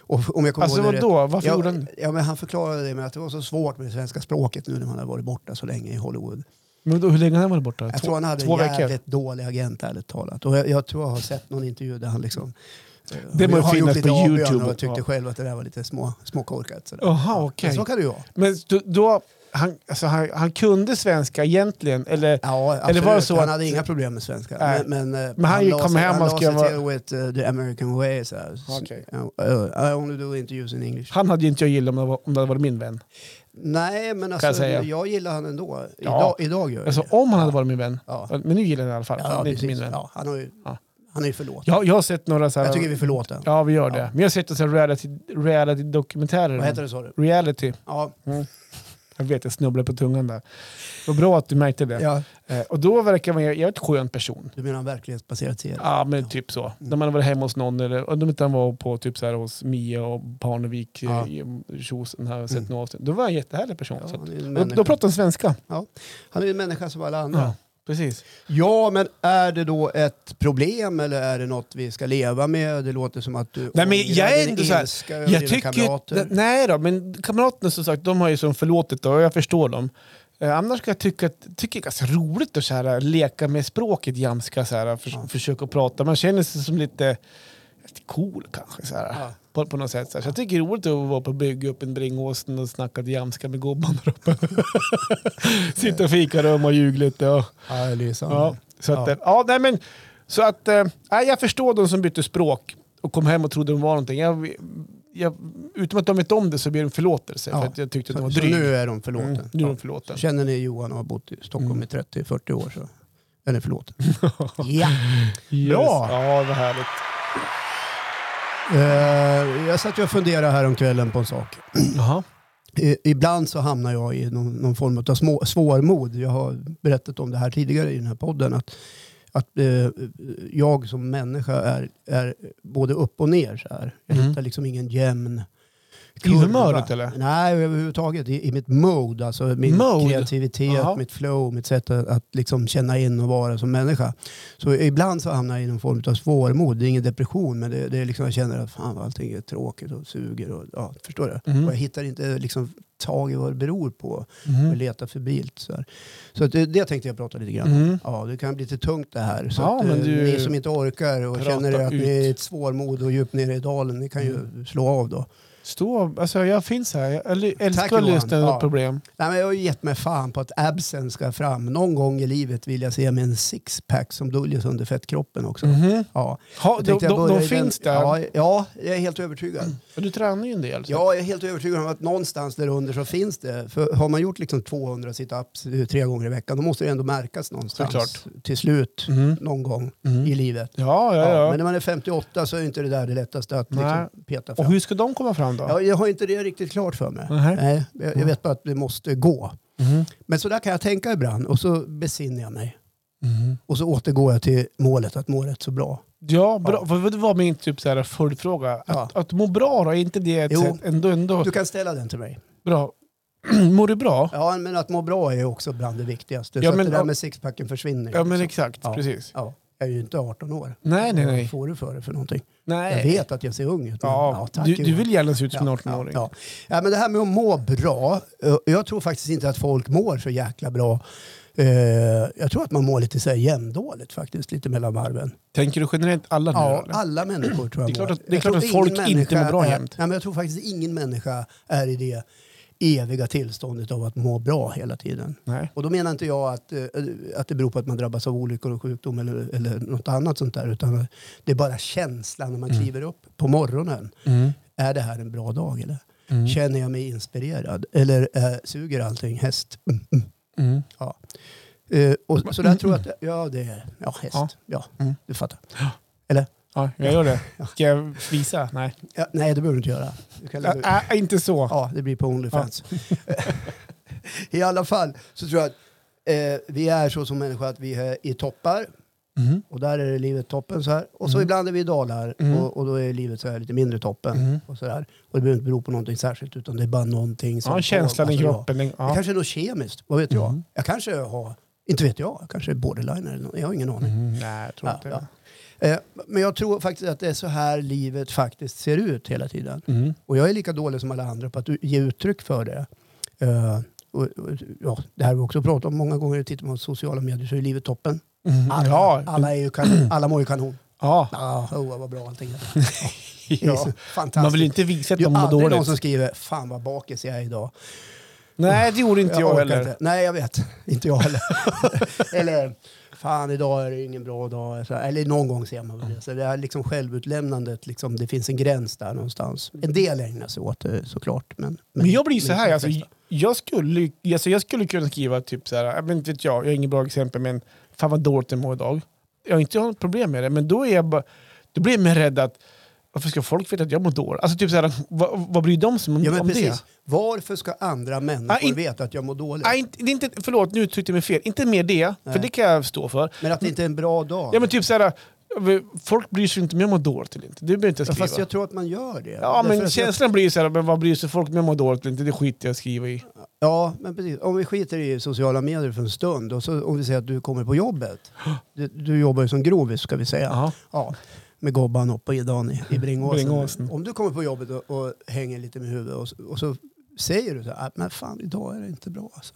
B: Och om jag kommer
A: Alltså
B: ihåg det rätt-
A: vadå? Varför
B: Ja,
A: gjorde han
B: ja, men han förklarade det med att det var så svårt med det svenska språket nu när man har varit borta så länge i Hollywood.
A: men då, Hur länge har han varit borta?
B: Jag
A: Två-
B: tror han hade
A: två
B: en
A: veckor.
B: jävligt dålig agent ärligt talat. Och jag, jag tror jag har sett någon intervju där han liksom... eh,
A: Det må
B: har gjort
A: finnas
B: lite
A: på
B: avbön
A: YouTube.
B: Och tyckte
A: Ja.
B: själv att det där var lite små, småkorkat. sådär.
A: Jaha, okej.
B: Men Så kan det ju vara.
A: Men då, då han, alltså, han, han kunde svenska egentligen, eller?
B: Ja, absolut.
A: Eller var det så
B: han
A: att-
B: hade inga problem med svenska.
A: Nej.
B: Men, men, eh,
A: Men han ju
B: la
A: kom
B: sig-
A: hem
B: han
A: och
B: la
A: skrev-
B: sig till with eh, the American way. Så här.
A: Okej.
B: Uh, I only do interviews in English.
A: Han hade ju inte jag gillat om det, var, om det hade varit min vän.
B: Nej, men
A: jag
B: alltså,
A: säga.
B: jag, gillar han ändå.
A: Ja.
B: Idag, idag gör jag
A: Alltså
B: det.
A: om han hade varit min vän.
B: Ja.
A: Men nu gillar jag den i alla fall.
B: Ja,
A: det är inte min
B: precis.
A: vän.
B: Ja, han, har ju,
A: Ja.
B: han är ju förlåten.
A: Jag, jag har sett några så här...
B: Jag tycker vi förlåter honom.
A: Ja, vi gör det.
B: Ja.
A: Men jag har sett en sån här reality, reality-dokumentärer.
B: Vad heter det sa du?
A: Reality.
B: Ja.
A: Jag vet, jag snubblade på tungan där. Vad bra att du märkte det.
B: ja.
A: Eh, och då verkar man ju... Jag är ett skön person.
B: Du menar en verklighetsbaserad serie?
A: Ja, men typ
B: Mm.
A: så. När man har varit hemma hos någon eller om inte han var på typ så här hos Mia och Parnevik, eh,
B: Ja. Mm.
A: ja. tjosen här och sett några avsnitt. Då var jag en jättehärlig person.
B: Ja,
A: så att,
B: han, är ju en
A: då, då
B: människa.
A: pratade han svenska.
B: ja. han är ju en människa som alla andra.
A: Ja,
B: Ja.
A: precis.
B: men är det då ett problem eller är det något vi ska leva med? Det låter som att du
A: Nej, men
B: ångrar
A: jag är
B: din
A: ändå så här-
B: ilska över
A: Jag
B: dina
A: tycker ju,
B: kamrater.
A: Nej, nej då, men kamraterna som sagt, de har ju som förlåtit och jag förstår dem. Eh, annars kan jag tycka att tycker det är ganska roligt att så här, eh, leka med språket jamska, så här, för, försöka prata. Man känner sig som lite, lite cool kanske. Så här.
B: Ja.
A: På, på något sätt. Så, här. så jag tycker det är roligt att vara på bygge upp en Bringåsen och snacka jamska med gubbarna där uppe. Sitta och fika rum och ljuga lite. Och,
B: Ja, det är sant.
A: ja. Så att,
B: Ja.
A: ja. Ja, nej, men, Så att, eh, nej, jag förstår de som bytte språk och kom hem och trodde de var någonting. Jag, jag, utan att de vet om det så ber de förlåtelse
B: Ja.
A: för att jag tyckte att de
B: Så,
A: var
B: så
A: dryg.
B: nu är de förlåten.
A: Mm, nu är
B: Ja.
A: de förlåten.
B: Känner ni Johan och har bott i Stockholm
A: Mm.
B: i 30-40 år så är ni förlåten. ja. Bra.
A: Ja, vad härligt.
B: Eh, jag satt ju och funderade här om kvällen på en sak.
A: Jaha.
B: I, ibland så hamnar jag i någon, någon form av små, svårmod. Jag har berättat om det här tidigare i den här podden. Att, att eh, jag som människa är, är både upp och ner. Så här. Jag
A: Mm.
B: hittar liksom ingen jämn
A: I humöret, eller?
B: Nej, överhuvudtaget. I, I mitt mode, alltså min
A: Mode?
B: kreativitet,
A: Jaha.
B: mitt flow, mitt sätt att, att liksom känna in och vara som människa. Så ibland så hamnar jag i någon form av svårmod. Det är ingen depression, men det, det är liksom jag känner att fan vad allting är tråkigt och suger. Och, ja, förstår du?
A: Mm.
B: Och jag hittar inte liksom, tag i vad det beror på.
A: Mhm.
B: Jag letar förbilt. Så, här. så att det, det tänkte jag prata lite grann om.
A: Mm.
B: Ja, det kan bli lite tungt det här. Så
A: Ja,
B: att, eh,
A: men du-
B: ni som inte orkar och
A: Prata
B: känner
A: ut.
B: att
A: Mm.
B: ni är i ett svårmod och djupt nere i dalen, ni kan ju slå av då.
A: Stå, alltså jag finns här. Jag äl-
B: Tack,
A: älskar att
B: Johan.
A: lösa
B: Ja.
A: problem.
B: Nej, men jag har ju gett mig fan på att absen ska fram. Någon gång i livet vill jag se med en sixpack som döljer under fettkroppen också.
A: Mhm.
B: Ja,
A: Ha,
B: jag
A: de
B: tänkte jag
A: de,
B: börjar
A: de
B: i den-
A: finns där.
B: Ja, ja, jag är helt övertygad.
A: Och Du tränar ju en del. så.
B: Ja, jag är helt övertygad om att någonstans där under så finns det. För har man gjort liksom 200 situps eh, tre gånger i veckan, då måste det ändå märkas någonstans.
A: Såklart.
B: Till slut,
A: Mhm.
B: någon gång
A: Mhm.
B: i livet.
A: Ja, ja,
B: Ja,
A: ja.
B: Men när man är 58 så är inte det där det lättaste att liksom peta
A: Och
B: fram.
A: hur ska de komma fram då?
B: Ja, jag har inte det riktigt klart för mig.
A: Mhm.
B: Nej, jag, jag vet bara att det måste gå.
A: Mhm.
B: Men så där kan jag tänka ibland och så besinnar jag mig.
A: Mhm.
B: Och så återgår jag till målet att må rätt så bra.
A: Ja, bra. För Det var min typ så här följdfråga. Att,
B: Ja.
A: att må bra då, är inte det ett
B: Jo.
A: sätt ändå, ändå
B: Du kan ställa den till mig.
A: bra? Mår du bra?
B: Ja, men att må bra är också bland det viktigaste.
A: Ja,
B: så
A: men-
B: att det där med sixpacken försvinner.
A: Ja, men
B: liksom.
A: exakt.
B: Ja.
A: Precis.
B: ja, jag är ju inte 18 år.
A: Nej, nej,
B: Vad
A: nej.
B: får du för det för någonting? Jag
A: nej.
B: vet att jag ser ung ut. men-
A: Ja,
B: tack,
A: du, du
B: Johan.
A: vill gärna se ut som en
B: Ja,
A: 18-åring.
B: Ja, ja. ja, men det här med att må bra. eh, Jag tror faktiskt inte att folk mår så jäkla bra. Eh, Jag tror att man mår lite så här jämndåligt faktiskt, lite mellan varven.
A: Tänker du generellt alla nu?
B: Ja,
A: eller?
B: alla människor tror jag
A: Det är klart
B: mår.
A: att- det är
B: Jag
A: klart
B: tror
A: att folk
B: ingen
A: inte
B: människa
A: mår bra
B: är-
A: jämt.
B: Nej, men jag tror faktiskt ingen människa är i det eviga tillståndet av att må bra hela tiden.
A: Nej.
B: Och då menar inte jag att, eh, att det beror på att man drabbas av olyckor och sjukdom eller, eller något annat sånt där. Utan det är bara känslan när man kliver upp på morgonen.
A: Mm.
B: Är det här en bra dag eller?
A: Mm.
B: Känner jag mig inspirerad? Eller eh, suger allting häst? Mm, mm.
A: Mm.
B: Ja. Eh, och, så där tror jag att, ja det är, ja häst.
A: Ja.
B: Ja,
A: Mm.
B: du fattar.
A: Ja, jag gör det. Ska jag visa? Nej.
B: Ja, nej, det behöver du inte göra. Du kan lägga ut.
A: Ä- ä- inte så.
B: Ja, det blir på Onlyfans. I alla fall så tror jag att eh, vi är så som människor att vi är i toppar.
A: Mhm.
B: Och där är det livet toppen så här. Och så
A: Mm.
B: ibland är vi i dalar
A: Mm.
B: och, och då är livet så här lite mindre toppen.
A: Mm.
B: Och, så där. och det behöver inte bero på någonting särskilt utan det är bara någonting som...
A: Ja, känslan i
B: alltså, ja.
A: kroppen. den-
B: Det
A: Ja.
B: kanske är något kemiskt, vad vet jag?
A: Mm.
B: Jag kanske har, inte vet jag, jag kanske är borderliner eller något. Jag har ingen aning.
A: Mm. Nej, jag tror
B: Ja,
A: inte
B: ja.
A: det.
B: Eh, men jag tror faktiskt att det är så här livet faktiskt ser ut hela tiden.
A: Mm.
B: Och jag är lika dålig som alla andra på att ge uttryck för det. Eh, och, och, ja, det här har vi också pratat om många gånger. Tittar man på sociala medier så är livet toppen.
A: Mm.
B: Alla,
A: Ja.
B: alla, är ju kanon, alla mår ju kanon.
A: Ja.
B: Ah, oh, vad bra allting är. Det är så
A: ja.
B: fantastiskt.
A: Man vill ju inte visa att
B: det
A: de
B: är
A: mår
B: aldrig någon som
A: dåligt.
B: skriver “Fan vad bakis jag är idag”.
A: Nej, det gjorde inte jag,
B: orkar
A: heller.
B: Inte. Nej, jag vet. Inte jag heller. eller “Fan, idag är det ingen bra dag”. Så, eller någon gång ser man väl det. Så det här liksom självutlämnandet, liksom, det finns en gräns där någonstans. En del ägnar sig åt det såklart. Men,
A: Men jag blir så
B: men
A: här,
B: de
A: alltså,
B: flesta.
A: jag, skulle, ju- alltså, jag skulle kunna skriva typ så här, jag vet inte vet jag, jag har inget bra exempel, men fan vad dåligt jag mår idag. Jag har inte något problem med det, men då, är jag bara, då blir jag mer rädd att varför ska folk veta att jag mår dåligt? Alltså typ så här, vad, vad bryr de sig om,
B: Ja, men
A: om det?
B: precis. Varför ska andra människor
A: Ah, in-
B: veta att jag mår dåligt?
A: Nej, inte, det är inte, förlåt, nu uttryckte jag mig fel. Inte mer det, för
B: Nej.
A: det kan jag stå för.
B: men att det inte är en bra dag?
A: Ja, men typ så här, folk bryr sig inte om jag mår dåligt eller inte. Det behöver inte jag
B: Ja,
A: skriva.
B: Fast jag tror att man gör det.
A: Ja,
B: Därför
A: men
B: att jag-
A: känslan blir ju så här, men vad bryr sig folk om jag mår dåligt eller inte? Det skiter jag i att skriva i.
B: Ja, men precis. Om vi skiter i sociala medier för en stund och så om vi säger att du kommer på jobbet. Du, du jobbar ju som grovis ska vi säga.
A: Jaha.
B: Ja, med Gobban och på Idan i, i Bringåsen.
A: Bringåsen.
B: Om du kommer på jobbet och, och hänger lite med huvudet och, så- och så säger du så här, "Ah, men fan idag är det inte bra. Alltså.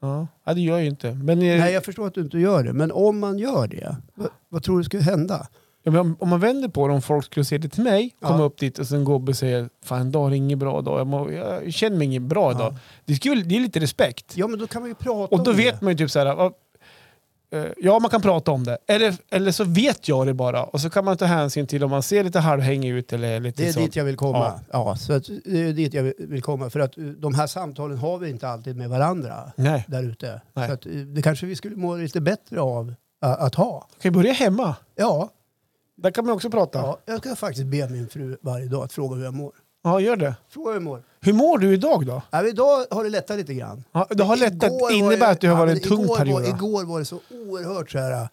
A: Ja. ja, det gör jag ju inte. Men, eh,
B: Nej, jag förstår att du inte gör det, men om man gör det, vad, vad tror du skulle hända?
A: Ja, men om- om man vänder på det, om folk skulle se det till mig, komma
B: Ja.
A: upp dit och sen Gobbe säger fan idag är det ingen bra dag, jag, mår, jag känner mig ingen bra
B: Ja.
A: idag. Det, skulle, det är lite respekt.
B: Ja, men då kan man ju prata
A: och då
B: om
A: vet
B: det.
A: man ju typ så här, vad- eh, ja, man kan prata om det. Eller, eller så vet jag det bara. Och så kan man ta hänsyn till om man ser lite halvhängig ut eller är lite
B: Det är
A: så.
B: dit jag vill komma. Ja. så att, det är dit jag vill- vill komma. För att eh, de här samtalen har vi inte alltid med varandra
A: Nej,
B: där ute.
A: Nej.
B: Så att, eh, det kanske vi skulle må lite bättre av ä, att ha.
A: kan ju börja hemma.
B: Ja,
A: Där kan man också prata. Ja,
B: ja, jag ska faktiskt be min fru varje dag att fråga hur jag mår.
A: gör det.
B: Fråga hur jag mår.
A: Hur mår du idag då?
B: Ja, men idag har det lättat lite grann.
A: Ja, det har lättat.
B: Igår var
A: Det innebär att det har
B: ja,
A: varit
B: men
A: en tung
B: igår
A: period.
B: Var,
A: va?
B: igår var det så oerhört så här... eh,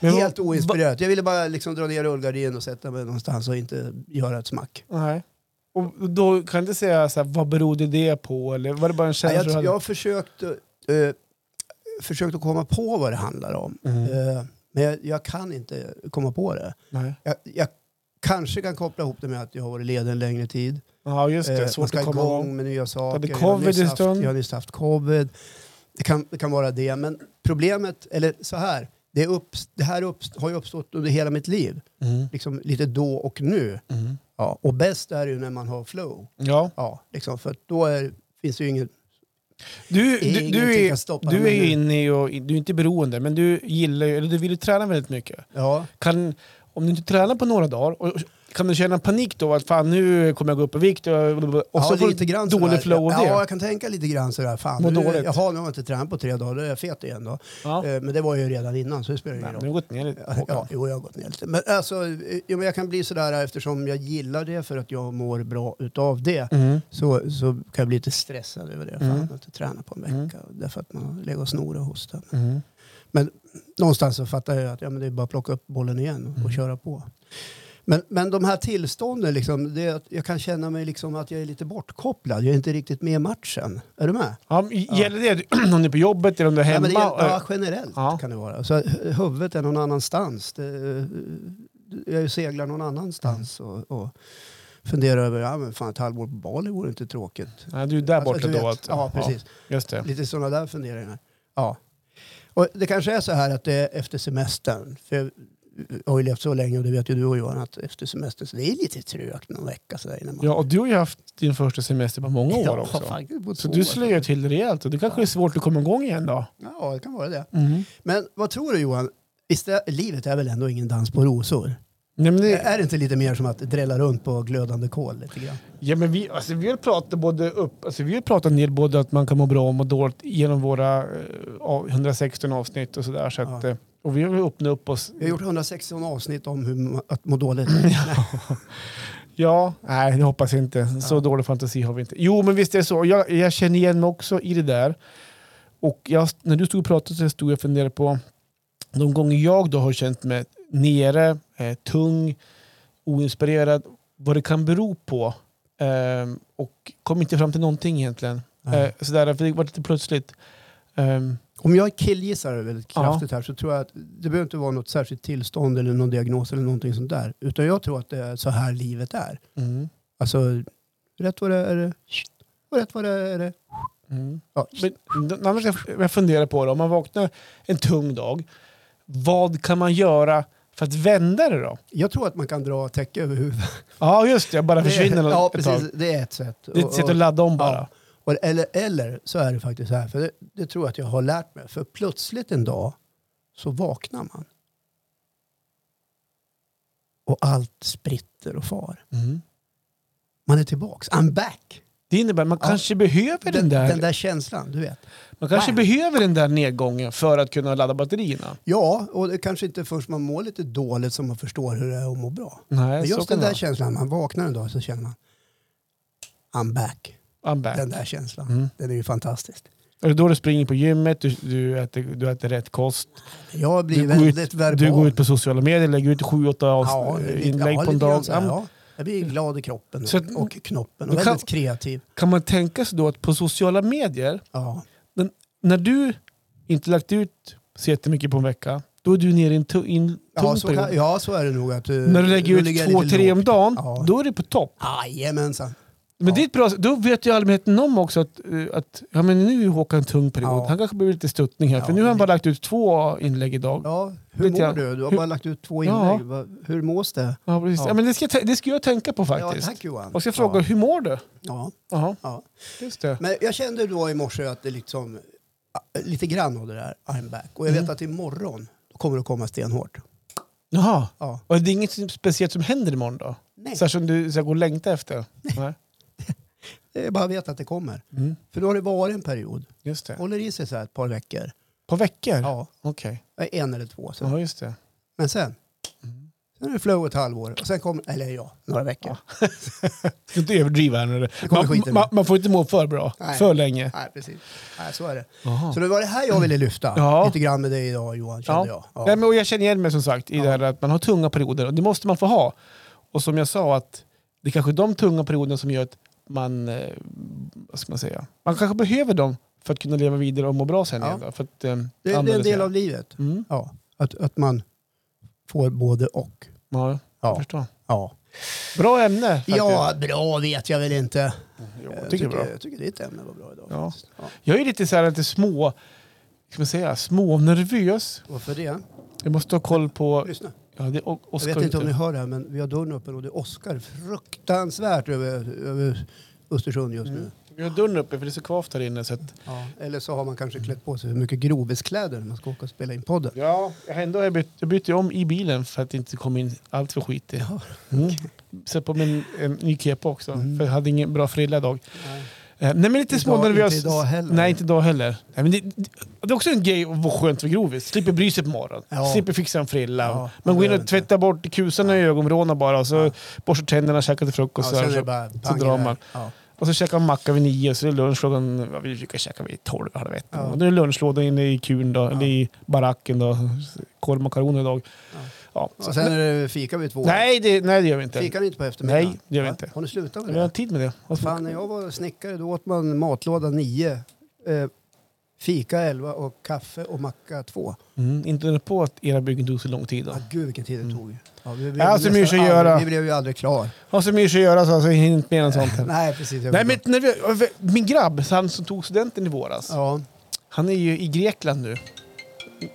A: Men vad-
B: helt oinspirerat. Jag ville bara liksom dra ner rullgardinen och sätta mig någonstans och inte göra ett smack.
A: Nej. Och då kan du säga så här, vad berodde det på? Eller var det bara en
B: Ja,
A: känsla
B: jag,
A: du hade?
B: jag har försökt, eh, försökt att komma på vad det handlar om.
A: Mm.
B: Eh, men jag, jag kan inte komma på det.
A: Nej.
B: Jag, jag kanske kan koppla ihop det med att jag har varit ledig en längre tid.
A: Ja, just det.
B: Eh, man
A: Svårt
B: ska
A: att komma
B: igång
A: igång.
B: med nya saker.
A: hade
B: Jag
A: covid
B: nyss
A: en
B: haft-
A: stund.
B: Jag har nyss haft covid. Det kan, det kan vara det. Men problemet, eller så här. Det, är upps- det här upps- har ju uppstått under hela mitt liv.
A: Mm.
B: Liksom lite då och nu.
A: Mm.
B: Ja, och bäst är det ju när man har flow.
A: Ja.
B: Ja, liksom, för att då är, finns det ju ingen...
A: Du, du, du,
B: Ingenting
A: är,
B: kan stoppa
A: du
B: mig
A: är ju
B: nu.
A: inne i och, du är inte beroende, men du gillar ju, eller du vill ju träna väldigt mycket.
B: Ja,
A: Kan, om du inte tränar på några dagar, och, kan du känna panik då? Att fan nu kommer jag gå upp i vikt och, och så
B: ja,
A: får du
B: lite grann sådär.
A: dålig flow av
B: ja,
A: det.
B: jag kan tänka lite grann sådär. Fan,
A: Må
B: nu,
A: dåligt.
B: Jaha, nu har jag inte tränat på tre dagar, då är jag fet igen då.
A: Ja.
B: Eh, Men det var ju redan innan, så det spelar ingen
A: Nej,
B: roll.
A: nu har jag gått ner lite.
B: Ja,
A: Håkan.
B: ja, jo, jag har gått ner lite. Men alltså, eh, jo, men jag kan bli sådär eh, eftersom jag gillar det för att jag mår bra utav det.
A: Mm.
B: Så, så kan jag bli lite stressad över det. Fan,
A: Mm.
B: jag har inte tränat på en vecka. Därför att man har legat och snorat och hostat.
A: Mm.
B: Men någonstans så fattar jag att ja, men det är bara att plocka upp bollen igen och
A: Mm.
B: köra på. Men, men de här tillstånden, liksom, det är att jag kan känna mig liksom att jag är lite bortkopplad. Jag är inte riktigt med i matchen. Är du med?
A: Ja, men gäller det om du är på jobbet eller om du är
B: ja,
A: hemma?
B: men det, är- ja, generellt
A: Ja.
B: kan det vara. Så hu- huvudet är någon annanstans. Det, eh, jag seglar någon annanstans
A: Mm.
B: och, och funderar över ja, men fan, ett halvår på Bali vore inte tråkigt.
A: Nej, du är där
B: Alltså,
A: borta
B: du
A: då?
B: vet.
A: Att,
B: Ja, precis.
A: just det.
B: Lite sådana där funderingar. Ja. Och det kanske är så här att det är efter semestern. För jag har ju levt så länge och det vet ju du och Johan att efter semestern så det är lite trögt någon vecka sådär innan man...
A: Ja, och du har ju haft din första semester på många år också.
B: faktiskt på
A: Så
B: två
A: du
B: år.
A: slöar till det rejält och det kanske är svårt att komma igång igen då?
B: Ja, det kan vara det. Men vad tror du Johan? Visst är, livet är väl ändå ingen dans på rosor?
A: Nej, men det,
B: Är det inte lite mer som att drälla runt på glödande kol lite grann?
A: ja, men vi, alltså, vi har pratat både upp, alltså, vi har pratat en del både att man kan må bra och må dåligt genom våra eh, av- 116 avsnitt och sådär. Så att,
B: Ja.
A: eh, Och vi har väl öppnat upp oss.
B: Vi har gjort 116 avsnitt om hur ma- att må dåligt.
A: Ja, nej det hoppas jag inte. Så
B: Ja.
A: dålig fantasi har vi inte. Jo men visst är det så. Jag, jag känner igen mig också i det där. Och jag, när du stod och pratade så stod jag och funderade på de gånger jag då har känt mig nere, eh, tung, oinspirerad, vad det kan bero på. Ehm, och kom inte fram till någonting egentligen.
B: Nej.
A: Eh, sådär, för det var lite plötsligt. Ehm,
B: Om jag killgissar väldigt kraftigt här så tror jag att det behöver inte vara något särskilt tillstånd eller någon diagnos eller någonting sånt där. Utan jag tror att det är så här livet är.
A: mm,
B: Alltså, rätt vad det är är det och rätt vad det är är det.
A: mm.
B: Ja.
A: Men, d- annars ska jag- jag funderar på det. Om man vaknar en tung dag, vad kan man göra för att vända det då?
B: Jag tror att man kan dra täcke över huvudet.
A: Ja, just det. Jag bara försvinner
B: det, är-
A: det,
B: ja,
A: ett tag.
B: precis. Det är ett sätt.
A: Det är ett sätt att ladda om bara.
B: Ja. Och, eller, eller så är det faktiskt så här, för det, det tror jag att jag har lärt mig. För plötsligt en dag så vaknar man. Och allt spritter och far.
A: Mm.
B: Man är tillbaks. I'm back!
A: Det innebär att man
B: Ja.
A: kanske behöver den,
B: Den,
A: där,
B: den där känslan, du vet.
A: Man kanske
B: Bam.
A: behöver den där nedgången för att kunna ladda batterierna.
B: Ja, och det kanske inte först man mår lite dåligt som man förstår hur det är att må bra.
A: Nej,
B: Men
A: så
B: just
A: kan
B: den
A: det
B: där
A: vara.
B: känslan, man vaknar en dag så känner man I'm back.
A: I'm back.
B: Den där känslan,
A: Mm.
B: den är ju fantastisk.
A: Är det då du springer på gymmet, du, du, äter, du äter rätt kost,
B: Jag blir
A: Du går ut-
B: väldigt verbal.
A: du går ut på sociala medier, lägger ut 7-8
B: ja,
A: avs-
B: lite-
A: eh, inlägg
B: ja,
A: på en
B: lite
A: dag.
B: grann så här,
A: Ja,
B: ja. Jag blir glad i kroppen
A: Så att-
B: och knoppen
A: Du
B: och
A: kan-
B: väldigt kreativ.
A: Kan man tänka sig då att på sociala medier,
B: Ja.
A: när du inte lagt ut så jättemycket på en vecka, då är du nere i en tu- i en tung
B: Ja, så
A: period.
B: kan, ja, så är det nog. Att,
A: När du lägger ut två, tre om dagen,
B: Ja.
A: då är du på topp.
B: Jajamensan.
A: Men
B: Ja.
A: det är ett bra, då vet ju allmänheten om också att, eh, att ja, men nu är Håkan tung period.
B: Ja.
A: Han kanske behöver lite stuttning här. för
B: Ja,
A: nu har han
B: det-
A: bara lagt ut två inlägg idag. Ja.
B: Ja, hur
A: Lite grann.
B: mår du? Du har
A: Hur-
B: bara lagt ut två
A: Ja.
B: inlägg. Va- Hur mås det?
A: precis.
B: Ja.
A: Ja. men det, ska, jag tä- det ska jag tänka på
B: Ja,
A: faktiskt.
B: tack Johan.
A: och ska fråga,
B: Ja.
A: hur mår du?
B: Ja,
A: Jaha,
B: ja.
A: just det.
B: Men jag kände då i morse att det liksom lite grann av det där I'm back. Och jag
A: Mm.
B: vet att imorgon då kommer det komma stenhårt.
A: Jaha.
B: Ja.
A: Och det är inget speciellt som händer imorgon då?
B: Nej,
A: Så här som du ska gå och längta efter? Nej.
B: det är bara att veta att det kommer.
A: Mm.
B: För då har det varit en period.
A: Just det.
B: Håller i sig så här ett par veckor.
A: På veckor?
B: Ja,
A: Okej.
B: en eller två. Så.
A: Ja, just det.
B: Men sen,
A: Mm.
B: sen är det flow ett halvår. Och sen kommer, eller ja, några veckor.
A: Ska inte överdriva här nu.
B: kommer
A: Man,
B: skiten
A: man, man får inte må för bra.
B: Nej.
A: För länge.
B: Nej, precis. Nej, så är det.
A: Aha.
B: Så det var det här jag ville lyfta.
A: Mm. Ja.
B: Lite grann med dig idag Johan, kände
A: Ja.
B: jag.
A: Nej, men, och jag känner igen mig som sagt i
B: Ja.
A: det här att man har tunga perioder och det måste man få ha. Och som jag sa att det är kanske är de tunga perioderna som gör att man, eh, vad ska man säga, man kanske behöver dem för att kunna leva vidare och må bra sen
B: Ja.
A: igen. Då, för att, eh,
B: det, det är en
A: använda sig
B: del av livet.
A: Mm.
B: Ja. Att, att man får både och.
A: Ja, jag
B: Ja.
A: förstår.
B: Ja.
A: Bra ämne faktiskt.
B: ja, bra vet jag väl inte.
A: Jo,
B: Jag
A: jag tycker det är bra.
B: jag tycker ditt ämne var bra idag.
A: Ja.
B: faktiskt. Ja.
A: Jag är lite så här lite små, ska man säga, små nervös.
B: Varför det?
A: Jag måste ha koll på...
B: Lyssna.
A: Ja, det, och,
B: Jag vet inte om ni hör det här, men vi har dörren öppen och det oskar fruktansvärt över, över Östersund just nu.
A: Vi har dörren uppe för det är så kvavt här inne. Så att,
B: Ja. Eller så har man kanske klätt på sig för mycket groveskläder när man ska åka och spela in podden.
A: Ja, jag ändå har jag, bytt, jag bytte ju om i bilen för att inte komma in allt för skitig.
B: Ja.
A: Mm. Sätt på min en ny kepa också, för jag hade ingen bra frilla idag.
B: Nej.
A: Eh, nej, men lite
B: Idag-
A: smånervös.
B: inte idag heller.
A: Nej, inte idag heller. Nej, men det, det är också en grej att vara skönt för grovis. Slipper bry sig på morgonen.
B: Ja.
A: Slipper fixa en frilla.
B: Ja,
A: man går in
B: behöver
A: och
B: inte.
A: tvättar bort kusorna i ögonvråna bara. Och så borstar tänderna, käkar till
B: Ja,
A: frukost.
B: sen
A: så,
B: är
A: här,
B: det
A: så,
B: bara
A: så drar
B: pang
A: man.
B: Ja.
A: och så käkar man macka vid nio. Så är det lunch klockan... Ja, vi brukar käka vid tolv, halv ett.
B: Ja.
A: Och då är det lunchlåda inne i kuren då. Eller i baracken då. Korvmakaroner idag.
B: Ja.
A: Ja.
B: Och sen är det fika vid två.
A: Nej, det, nej, det gör vi inte.
B: Fikar ni inte på eftermiddagen?
A: Nej, det gör vi inte.
B: Har ni slutat med
A: Vi har
B: det?
A: tid med det. Vad
B: Fan, när jag var snickare då åt man matlåda nio, eh, fika elva och kaffe och macka två.
A: Mm, inte undra på att era byggen tog så lång tid då.
B: Ah, gud vilken tid det tog. Ja, vi, blev
A: Mm. Ja, så
B: nästan
A: mycket att
B: aldrig-
A: göra.
B: vi blev ju aldrig klar.
A: Har så mycket att göra så alltså, jag hinner inte med en sånt. här.
B: Nej, precis. jag
A: Nej, men
B: vet.
A: när vi, min grabb, så han som tog studenten i våras,
B: Ja,
A: han är ju i Grekland nu.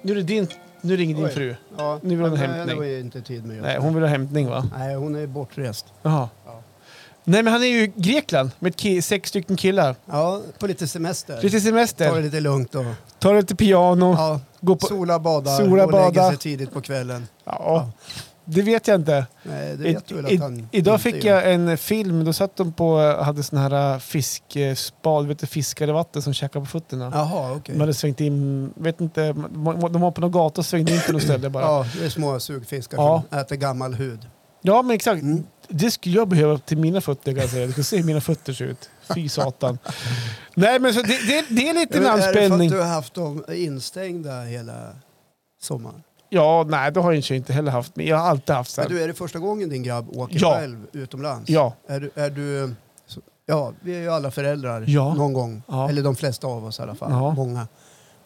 A: Nu, är det din, nu ringer din
B: Oj.
A: fru.
B: ja.
A: Nu vill hon ha
B: Nej,
A: hämtning.
B: Det var ju inte tid med
A: Nej,
B: Nej.
A: hon vill ha hämtning va?
B: Nej, hon är bortrest.
A: Jaha.
B: Ja.
A: Nej, men han är ju i Grekland med ett ki- sex stycken killar.
B: Ja, på lite semester.
A: Lite
B: Ta det
A: semester,
B: lite lugnt och
A: tar lite piano,
B: ja,
A: går på...
B: sola, bada
A: Sola,
B: och lägga
A: bada.
B: sig tidigt på kvällen.
A: Ja, det vet jag inte.
B: Nej, det
A: I-
B: vet du väl
A: i-
B: att han
A: Idag
B: inte
A: fick
B: gör.
A: jag en film, då satt de på, eh, hade sån här fiskspad, vet du, fiskar i vatten som käkar på fötterna.
B: Jaha, okej.
A: De hade svängt in, vet inte, de var på någon gata och svängde in på något ställe bara. Ja,
B: Ja, det är små sugfiskar
A: Ja.
B: som äter gammal hud.
A: men exakt.
B: Mm.
A: Det skulle jag behöva till mina fötter kan jag säga. Du ska se hur mina fötter ser ut. Fy satan. Nej men så det, det, det är lite en
B: Är det för att
A: anspänning.
B: du har haft dem instängda hela sommaren?
A: Ja, nej det har jag inte heller haft. Men jag har alltid haft så
B: Men
A: här.
B: du, är det första gången din grabb åker
A: Ja.
B: själv utomlands?
A: Ja.
B: Är du, är du, så- ja, vi är ju alla föräldrar
A: Ja.
B: någon gång.
A: Ja.
B: Eller de flesta av oss i alla fall.
A: Ja.
B: Många.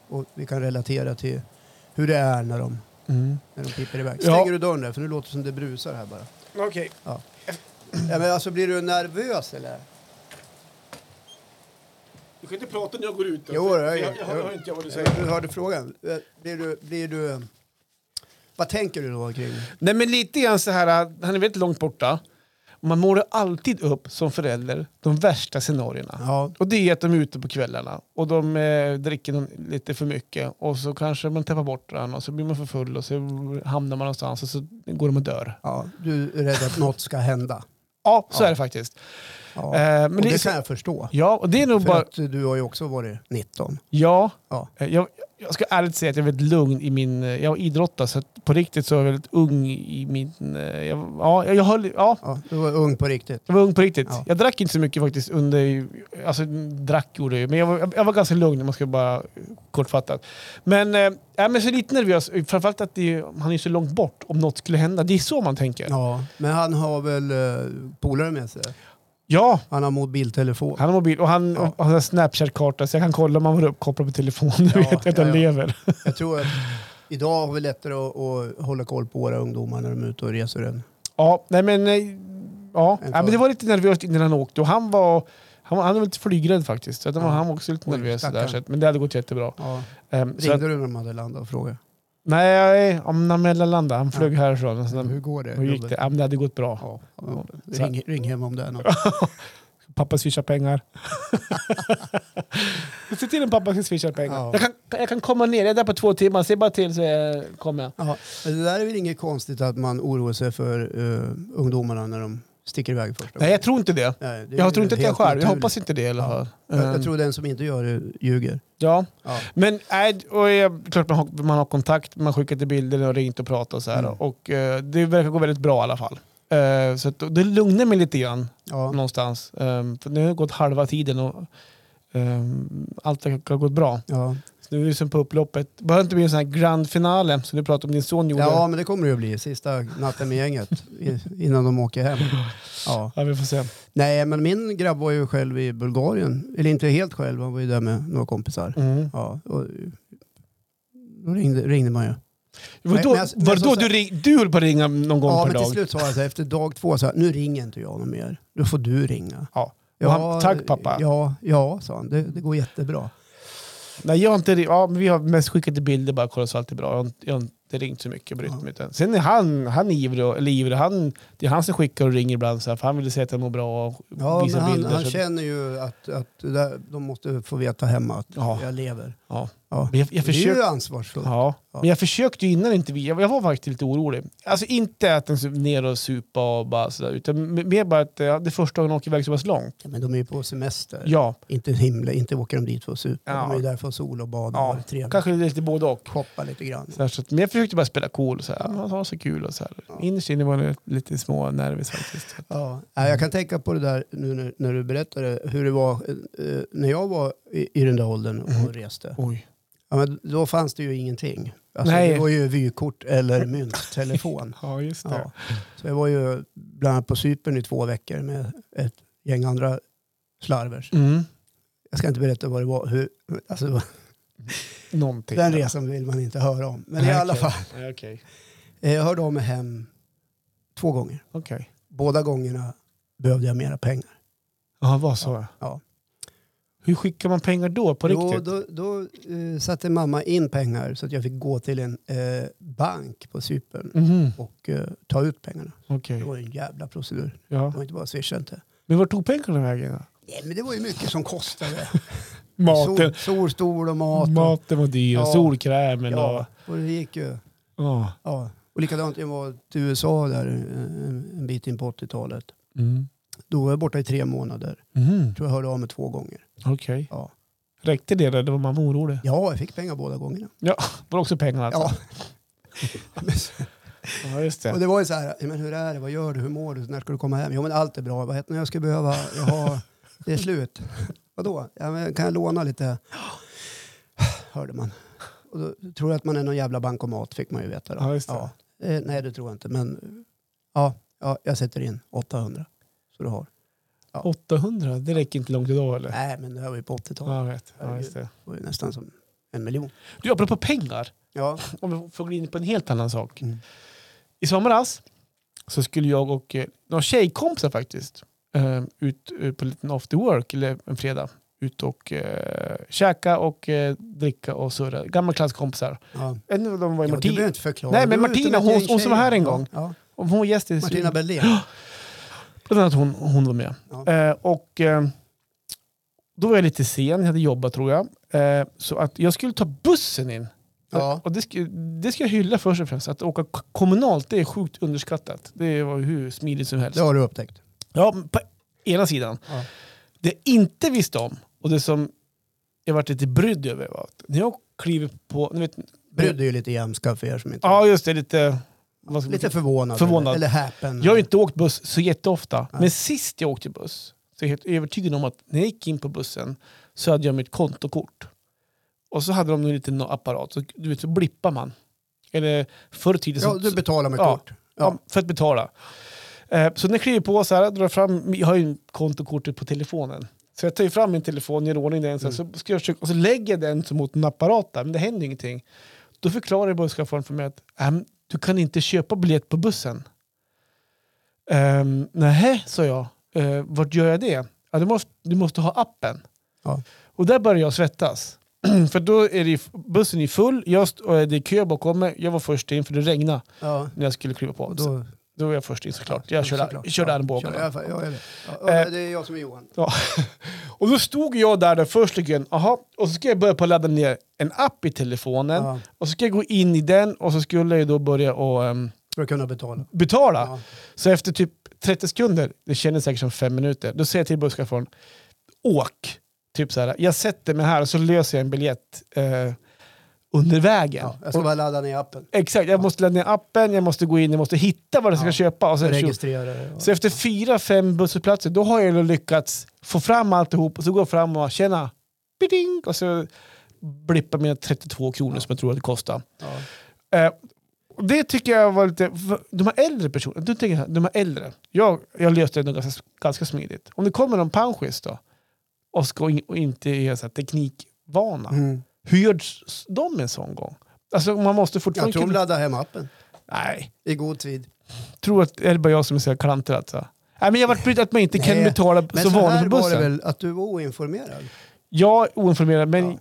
B: Och vi kan relatera till hur det är när de,
A: Mm.
B: när de piper iväg.
A: Ja.
B: Stänger du dörren där? För nu låter det som det brusar här bara.
A: Okej.
B: Ja. Ja, men alltså, blir du nervös eller?
A: Du kan inte prata när jag går ut.
B: då. Jo, det är- Jag- jag hör- jag hör
A: inte vad du
B: Du hörde frågan. Eh, Blir du, blir du, vad tänker du då kring?
A: Nej men lite grann så här, han är väldigt långt borta. Man målar alltid upp som förälder de värsta scenarierna.
B: Ja.
A: Och det är att de är ute på kvällarna och de eh, dricker någon, lite för mycket och så kanske man tappar bort den och så blir man för full och så hamnar man någonstans och så går de och dör.
B: ja. Du är rädd att något ska hända.
A: Ja, så
B: Ja.
A: är det faktiskt.
B: Ja.
A: Eh, men
B: och
A: det,
B: det,
A: är så-
B: kan jag förstå.
A: Ja, och det är nog
B: För
A: bara...
B: att du har ju också varit 19.
A: Ja,
B: Ja.
A: eh, jag, jag ska ärligt säga att jag är väldigt lugn i min... eh, Jag idrottar så att på riktigt så är jag väldigt ung i min... eh, Jag, ja, jag, jag höll... Ja,
B: ja. Du var ung på riktigt.
A: Jag var ung på riktigt.
B: Ja.
A: Jag drack inte så mycket faktiskt under... Alltså drack gjorde jag ju, men jag var, jag var ganska lugn om man ska bara kortfattat. Men, eh, ja, men så lite nervös, framförallt att det, är- han är så långt bort om något skulle hända. Det är så man tänker. Ja,
B: Ja. Men han har väl eh, polare med sig? Han har mobiltelefon.
A: han har mobil och han
B: Ja.
A: har har en Snapchat-karta så jag kan kolla om han var uppkopplad på telefonen. Nu
B: Ja,
A: vet jag att han
B: ja, ja.
A: lever.
B: Jag tror att idag har vi lättare att, att hålla koll på våra ungdomar när de är ute och reser än.
A: Ja, nej men... eh, Ja.
B: En
A: ja, men det
B: för-
A: var lite nervöst innan han åkte och han var... Han var, han var lite flygrädd faktiskt. Så att han var
B: Ja.
A: han var också lite
B: Oj,
A: nervös.
B: stackarn.
A: Där, så att, men det hade gått jättebra.
B: Ja.
A: Um, så
B: Ringde
A: att,
B: du när de hade landat och frågade?
A: nej, om när mellanlandade. Han flög härifrån. och sen-
B: Hur går det?
A: Hur gick det?
B: gubben?
A: Ja, men det hade gått bra.
B: Ja, ja,
A: Så här.
B: ring, ring hem om det är något.
A: Pappa swishar pengar. Se till att pappa ska swisha pengar.
B: Ja.
A: Jag, kan, jag kan komma ner, jag är där på två timmar. Se bara till så eh, kommer jag.
B: Ja, men det där är väl inget konstigt att man oroar sig för eh, ungdomarna när de sticker iväg första
A: Nej, jag tror inte det.
B: Nej, det är
A: Jag tror inte att jag
B: helt
A: själv. Jag
B: naturligt.
A: hoppas inte det i alla
B: Ja.
A: fall.
B: Jag, jag
A: Ehm,
B: tror den som inte gör det ljuger.
A: Ja.
B: Ja.
A: Men nej, och jag, klart man har, man har kontakt, man skickar till bilder och ringt och pratat och så här.
B: Mm.
A: Och eh, det verkar gå väldigt bra i alla fall. Eh, så att, och det lugnar mig lite grann
B: Ja.
A: någonstans. Ehm, för nu har det gått halva tiden och ehm, allt verkar ha gått bra.
B: Ja.
A: Så nu är det som på upploppet. Bara det inte blir en sån här grand finale som du pratade om din son gjorde.
B: ja, men det kommer det ju bli. Sista natten med gänget i- innan de åker hem. Ja.
A: Ja, vi får se.
B: Nej, men min grabb var ju själv i Bulgarien. Eller inte helt själv, han var ju där med några kompisar.
A: Mm.
B: Ja, och då ringde, ringde man ju.
A: Var det då,
B: men jag- men
A: var det
B: som
A: då du, ring, du höll på att ringa någon gång
B: Ja,
A: per
B: men
A: dag?
B: till slut sa jag så här, efter dag två, så här, nu ringer inte jag honom mer. Nu får du ringa.
A: Ja. Och han, tack pappa.
B: Ja, ja sa han. Det, det går jättebra.
A: Nej, jag har inte, ja, men vi har mest skickat till bilder bara kollat så allt är bra. Jag har, inte- jag har inte ringt så mycket och brytt
B: Ja.
A: mig. utan- Sen är han, han ivrig, och- eller ivrig han, det är han som skickar och ringer ibland så här, för han vill se att jag mår bra och
B: Ja,
A: visar
B: men han,
A: bilder.
B: han
A: så att-
B: känner ju att, att det där, de måste få veta hemma att
A: Ja.
B: jag lever.
A: Ja.
B: Ja.
A: Men jag, jag
B: Det är ju
A: försökte,
B: ansvarsfullt.
A: ja.
B: Ja.
A: Men jag försökte ju innan inte vi, jag jag var faktiskt lite orolig. Alltså inte att den så- ner och supa och bara sådär, utan m- mer bara att eh, det är första gången jag åker iväg så pass långt.
B: Ja, men de är ju på semester.
A: Ja,
B: Inte himla, inte åker de dit för att supa.
A: Ja.
B: De är ju där för att sola och bada och
A: ja.
B: ha det trevligt.
A: kanske lite både och.
B: Shoppa lite grann.
A: Så här, så att, men jag försökte bara spela cool, och så här, ja, ha så kul och så här. Innerst inne var jag lite små nervis faktiskt.
B: Ja, nej, jag kan tänka på det där nu när, när du berättade hur det var eh, när jag var i, i den där åldern och
A: Mhm.
B: reste.
A: Oj.
B: Ja, men då fanns det ju ingenting. Alltså,
A: Nej.
B: Det var ju vykort eller mynttelefon.
A: Ja, just det.
B: ja. Så jag var ju bland annat på Cypern i två veckor med ett gäng andra slarvers.
A: Mm.
B: Jag ska inte berätta vad det var. Hur, alltså,
A: Någonting.
B: den resan vill man inte höra om. Men i
A: Nej,
B: alla
A: okej.
B: fall,
A: Nej, Okej.
B: eh, jag hörde av mig hem två gånger.
A: Okej.
B: Båda gångerna behövde jag mera pengar.
A: Ja, vad sa jag?
B: Ja.
A: Hur skickar man pengar då på
B: Jo,
A: riktigt?
B: då då eh, satte mamma in pengar så att jag fick gå till en eh, bank på Cypern
A: Mhm,
B: och eh, ta ut pengarna.
A: Okej.
B: Det var ju en jävla procedur.
A: Ja.
B: Det var inte bara swisha inte.
A: Men vart tog pengarna vägen? då?
B: Nej, men det var ju mycket som kostade.
A: Maten.
B: Sol, solstol och mat. Och,
A: Maten var dyr.
B: Ja.
A: Solkrämen
B: ja,
A: och...
B: och det gick ju.
A: Ja.
B: Ja. Och likadant, jag var till USA där en, en bit in på 80-talet.
A: Mm.
B: Då var jag borta i tre månader.
A: Mm.
B: tror jag hörde av mig två gånger.
A: Okej.
B: Ja,
A: Räckte det då? Det var man var orolig.
B: ja jag fick pengar båda gångerna.
A: Var det också pengarna? Alltså?
B: Ja. Men så-
A: ja, just
B: Och
A: det.
B: det var ju så här, men hur är det, vad gör du, hur mår du, när ska du komma hem? Jo men allt är bra, vad heter det, jag ska behöva, jag har, det är slut. Vadå, ja, men kan jag låna lite? Hörde man. Och då tror jag att man är någon jävla bankomat, fick man ju veta då.
A: Ja, just det.
B: Eh, nej det tror jag inte, men ja, ja, jag sätter in 800. Så du har.
A: 800? Det räcker inte långt idag eller?
B: Nej men det här var ju på 80-talet,
A: Ja, jag vet. Ja, just det.
B: det var ju nästan som en miljon.
A: Du, apropå pengar.
B: Ja,
A: Om vi får gå in på en helt annan sak.
B: Mm.
A: I somras så skulle jag och eh, några tjejkompisar faktiskt eh, ut eh, på en liten after work, eller en fredag, ut och eh, käka och eh, dricka och surra. Gamla klasskompisar.
B: ja.
A: En av dem var
B: ja
A: ju
B: du behöver
A: Martina.
B: inte förklara.
A: Nej, men
B: Du var ute
A: Martina,
B: med ett
A: hon-
B: gäng
A: hon som var här en
B: tjejer.
A: gång.
B: Ja,
A: Hon var gäst i
B: ja. Martina Berlin.
A: Bland annat hon, hon var med.
B: Ja.
A: Eh, och eh, då var jag lite sen, jag hade jobbat tror jag. Eh, så att jag skulle ta bussen in.
B: Ja.
A: Och det, ska, det ska jag hylla först och främst. Att åka k- kommunalt, det är sjukt underskattat. Det var ju hur smidigt som helst.
B: Det har du upptäckt.
A: Ja, men på ena sidan.
B: Ja.
A: Det jag inte visste om och det som jag varit lite brydd över var att när jag kliver på... Ni vet,
B: Brydde ju lite jämska för er som inte...
A: ja, just det. Lite... Vad ska man
B: lite förvånad.
A: Förvånad.
B: Eller, eller häpen.
A: Jag har ju inte åkt buss så jätteofta,
B: Nej.
A: men sist jag åkte buss så är jag helt övertygad om att när jag gick in på bussen så hade jag mitt kontokort. Och så hade de en liten apparat, så, du vet, så blippar man. Eller förr i tiden...
B: ja,
A: så,
B: du betalar med
A: Ja.
B: kort.
A: ja. för att betala. Eh, så när jag kliver på så här, drar fram, jag har ju kontokortet på telefonen. Så jag tar ju fram min telefon, gör i ordning den, så, här,
B: Mm.
A: så ska jag försöka, och så lägger jag den så mot en apparat där, men det händer ju ingenting. Då förklarar busschauffören för mig att "Ehm, du kan inte köpa biljett på bussen. Um, Nej, sa jag. Uh, vart gör jag det? Ja, du, måste, du måste ha appen.
B: Ja.
A: Och där börjar jag svettas. för då är det, ju- bussen är full, jag, st- och det är kö bakom mig, jag var först in för det regnade
B: Ja.
A: när jag skulle kliva på.
B: Och då
A: Då var jag först in såklart. Jag körde,
B: Såklart.
A: körde
B: Ja,
A: armbågarna.
B: kör- Ja, jag är det. Ja,
A: Eh.
B: det är jag som är Johan.
A: Ja. Och då stod jag där, där först och igen, aha, och så ska jag börja på att ladda ner en app i telefonen.
B: Ja,
A: Och så ska jag gå in i den och så skulle jag ju då börja och ehm,
B: för att kunna betala.
A: betala.
B: Ja.
A: Så efter typ 30 sekunder, det kändes säkert som fem minuter, då säger jag till busschauffören, åk! Typ så här, jag sätter mig här och så löser jag en biljett eh, under vägen.
B: Ja, jag ska
A: och,
B: bara ladda ner appen.
A: exakt, jag måste ladda ner appen, jag måste gå in, jag måste hitta vad jag ska
B: Ja.
A: köpa. Och sen,
B: Registrera det.
A: så efter fyra, fem busshållplatser, då har jag då lyckats få fram alltihop och så går jag fram och tjena, biding, och så blippar mina 32 kronor som jag tror att det kostar.
B: Ja.
A: Eh, och det tycker jag var lite... De här äldre personerna, du tänker jag så här, de här äldre. Jag, jag löste det nog ganska, ganska smidigt. Om det kommer någon panschis då och, ska in, och inte är så här teknikvana,
B: Mm.
A: hur gör s- de en sån gång? Alltså man måste
B: Jag
A: fortfarande...
B: tror de
A: kunna-
B: laddar hem appen
A: Nej,
B: i god tid.
A: tror att är det bara jag som är så här klantig alltså? Nej men jag vart brydd att man inte kan
B: Nej,
A: betala
B: Men
A: som
B: så
A: vanligt
B: här
A: på
B: var det
A: bussen.
B: väl att du var oinformerad?
A: Jag är oinformerad men
B: Ja.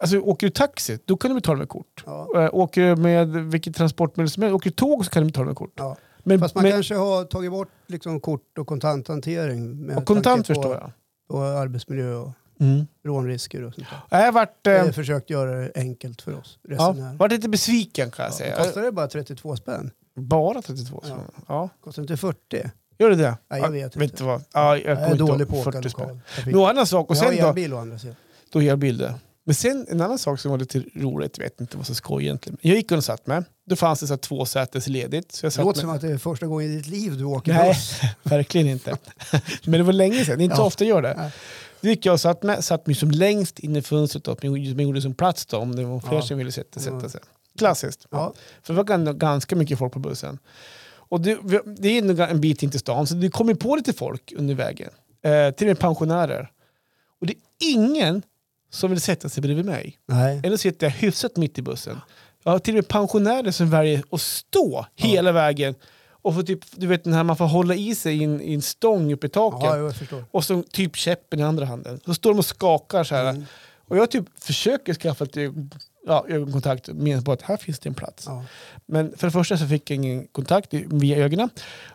A: alltså, åker du taxi då kan du betala med kort.
B: Ja.
A: Eh, åker du med vilket transportmedel som helst, åker du tåg så kan du betala med kort.
B: Ja.
A: Men,
B: Fast man
A: men,
B: kanske har tagit bort liksom kort och kontanthantering. Med
A: och kontant
B: tanke på-
A: förstår jag.
B: Och arbetsmiljö och
A: Mm.
B: rånrisker och sånt där.
A: Jag har varit, eh,
B: Jag har försökt göra det enkelt för oss
A: ja,
B: resenärer.
A: varit lite besviken kan jag
B: Ja,
A: säga.
B: kostar det bara 32 spänn?
A: Bara 32
B: Ja.
A: ja. ja.
B: Kostar inte 40?
A: Gör det det?
B: Nej,
A: Ja,
B: jag vet
A: Vet
B: inte.
A: du vad? Ja, jag
B: Jag
A: kommer
B: är
A: inte
B: dålig
A: ihåg.
B: på att åka
A: 40 spänn.
B: lokal.
A: Men en annan sak, och
B: Jag
A: sen
B: har
A: då,
B: elbil å andra sidan.
A: då elbilder. Men sen en annan sak som var lite roligt, jag vet inte vad som skoj egentligen. Jag gick och satt med, då fanns det så här två sätes ledigt. Så jag
B: Det
A: satt
B: låter
A: med.
B: som att det är första gången i ditt liv du åker
A: Nej,
B: buss.
A: verkligen inte. Men det var länge sedan, det är inte så
B: Ja.
A: ofta jag gör
B: Nej.
A: det. Då gick jag och satt med, satt mig som längst in i fönstret då, men jag gjorde som plats då, om det var fler
B: Ja.
A: som ville sätta, sätta
B: Mm.
A: sig. Klassiskt.
B: Ja.
A: För det var gan- ganska mycket folk på bussen. Och det, det är nog en bit in till stan, så det kommer på lite folk under vägen. Eh, till och med pensionärer. Och det är ingen som vill sätta sig bredvid mig.
B: Nej.
A: Eller sitter jag hyfsat mitt i bussen. Jag har till och med pensionärer som väljer att stå hela vägen. Och får typ, du vet den här man får hålla i sig i en, i en stång uppe i taket.
B: Ja, jag förstår.
A: Och så typ käppen i andra handen. Så står de och skakar så
B: Mm.
A: här. Och jag typ försöker skaffa ett ja, ögonkontakt menar på att här finns det en plats.
B: Ja.
A: Men för det första så fick jag ingen kontakt i- via ögonen.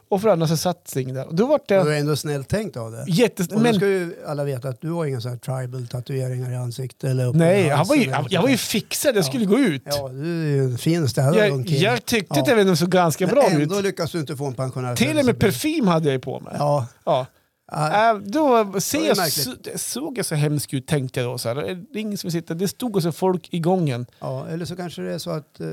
A: Och för det andra så satt Sing där. Och då var
B: Du har
A: det
B: ändå snällt tänkt av det.
A: jättes...
B: Och men...
A: Men,
B: ska ju alla veta att du har inga sådana här tribal tatueringar i ansiktet eller uppe i
A: nej, han var
B: halsen
A: ju,
B: eller
A: han,
B: något
A: jag var ju
B: sånt
A: fixad. Jag skulle gå ut.
B: där. Ja, du är ju en fin städare
A: Jag, jag tyckte att jag ändå såg ganska bra
B: Men
A: ut.
B: ändå lyckas du inte få en pensionär.
A: Till och med parfym hade jag ju på mig.
B: Ja.
A: Ja.
B: Ja.
A: Äh, då ser
B: Det är
A: jag,
B: märkligt.
A: så- såg jag så hemsk ut tänkte jag då. Så här. Det är ingen som sitter. Det stod också folk i gången.
B: ja, eller så kanske det är så att eh,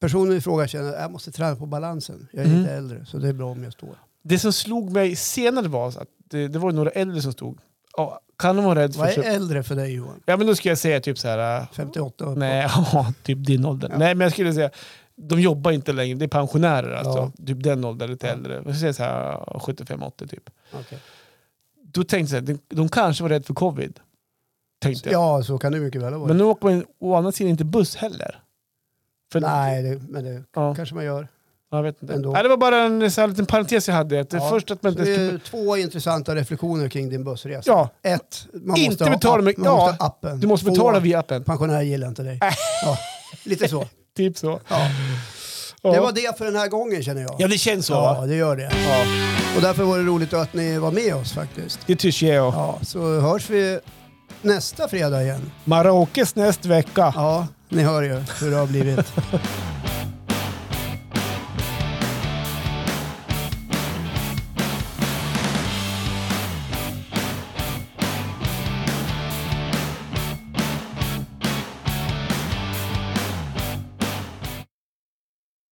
B: personen i fråga känner att jag måste träna på balansen. Jag är
A: Mm.
B: lite äldre så det är bra om jag står.
A: Det som slog mig senare var så att det, det var ju några äldre som stod. Ja, kan de vara rädda för
B: Vad är
A: sig?
B: äldre för dig Johan?
A: Ja men då ska jag säga typ så här. äh,
B: 58 och uppåt.
A: Nej, ja, typ din ålder.
B: Ja.
A: Nej, men jag skulle säga, de jobbar inte längre. Det är pensionärer alltså. Typ den åldern, lite
B: Ja.
A: äldre. Jag skulle säga så här 75-80 typ.
B: Okej.
A: Då tänkte jag, så här, de, de kanske var rädda för covid. Tänkte jag.
B: Ja, så kan det mycket väl ha varit.
A: Men nu åker man å andra sidan inte buss heller. För-
B: Nej, det, men det
A: Ja,
B: kanske man gör.
A: jag vet inte.
B: Ändå.
A: Nej, det var bara en så här, liten parentes jag hade. Att det
B: Ja,
A: Först att man
B: Så
A: inte
B: det
A: skulle...
B: är två intressanta reflektioner kring din bussresa.
A: Ja,
B: Ett, man
A: Inte
B: måste ha
A: betala
B: app-
A: med-
B: man
A: ja,
B: måste ha appen.
A: du måste
B: Två,
A: betala via appen.
B: Pensionärer gillar inte dig. ja, lite så.
A: Typ så.
B: Ja.
A: Ja.
B: Det var det för den här gången känner jag.
A: ja, det känns så.
B: Ja,
A: va?
B: det gör det.
A: Ja.
B: Och därför var det roligt att ni var med oss faktiskt.
A: Det tycker jag.
B: Ja, så hörs vi nästa fredag igen.
A: Marokes näst vecka.
B: Ja, ni hör ju hur det har blivit.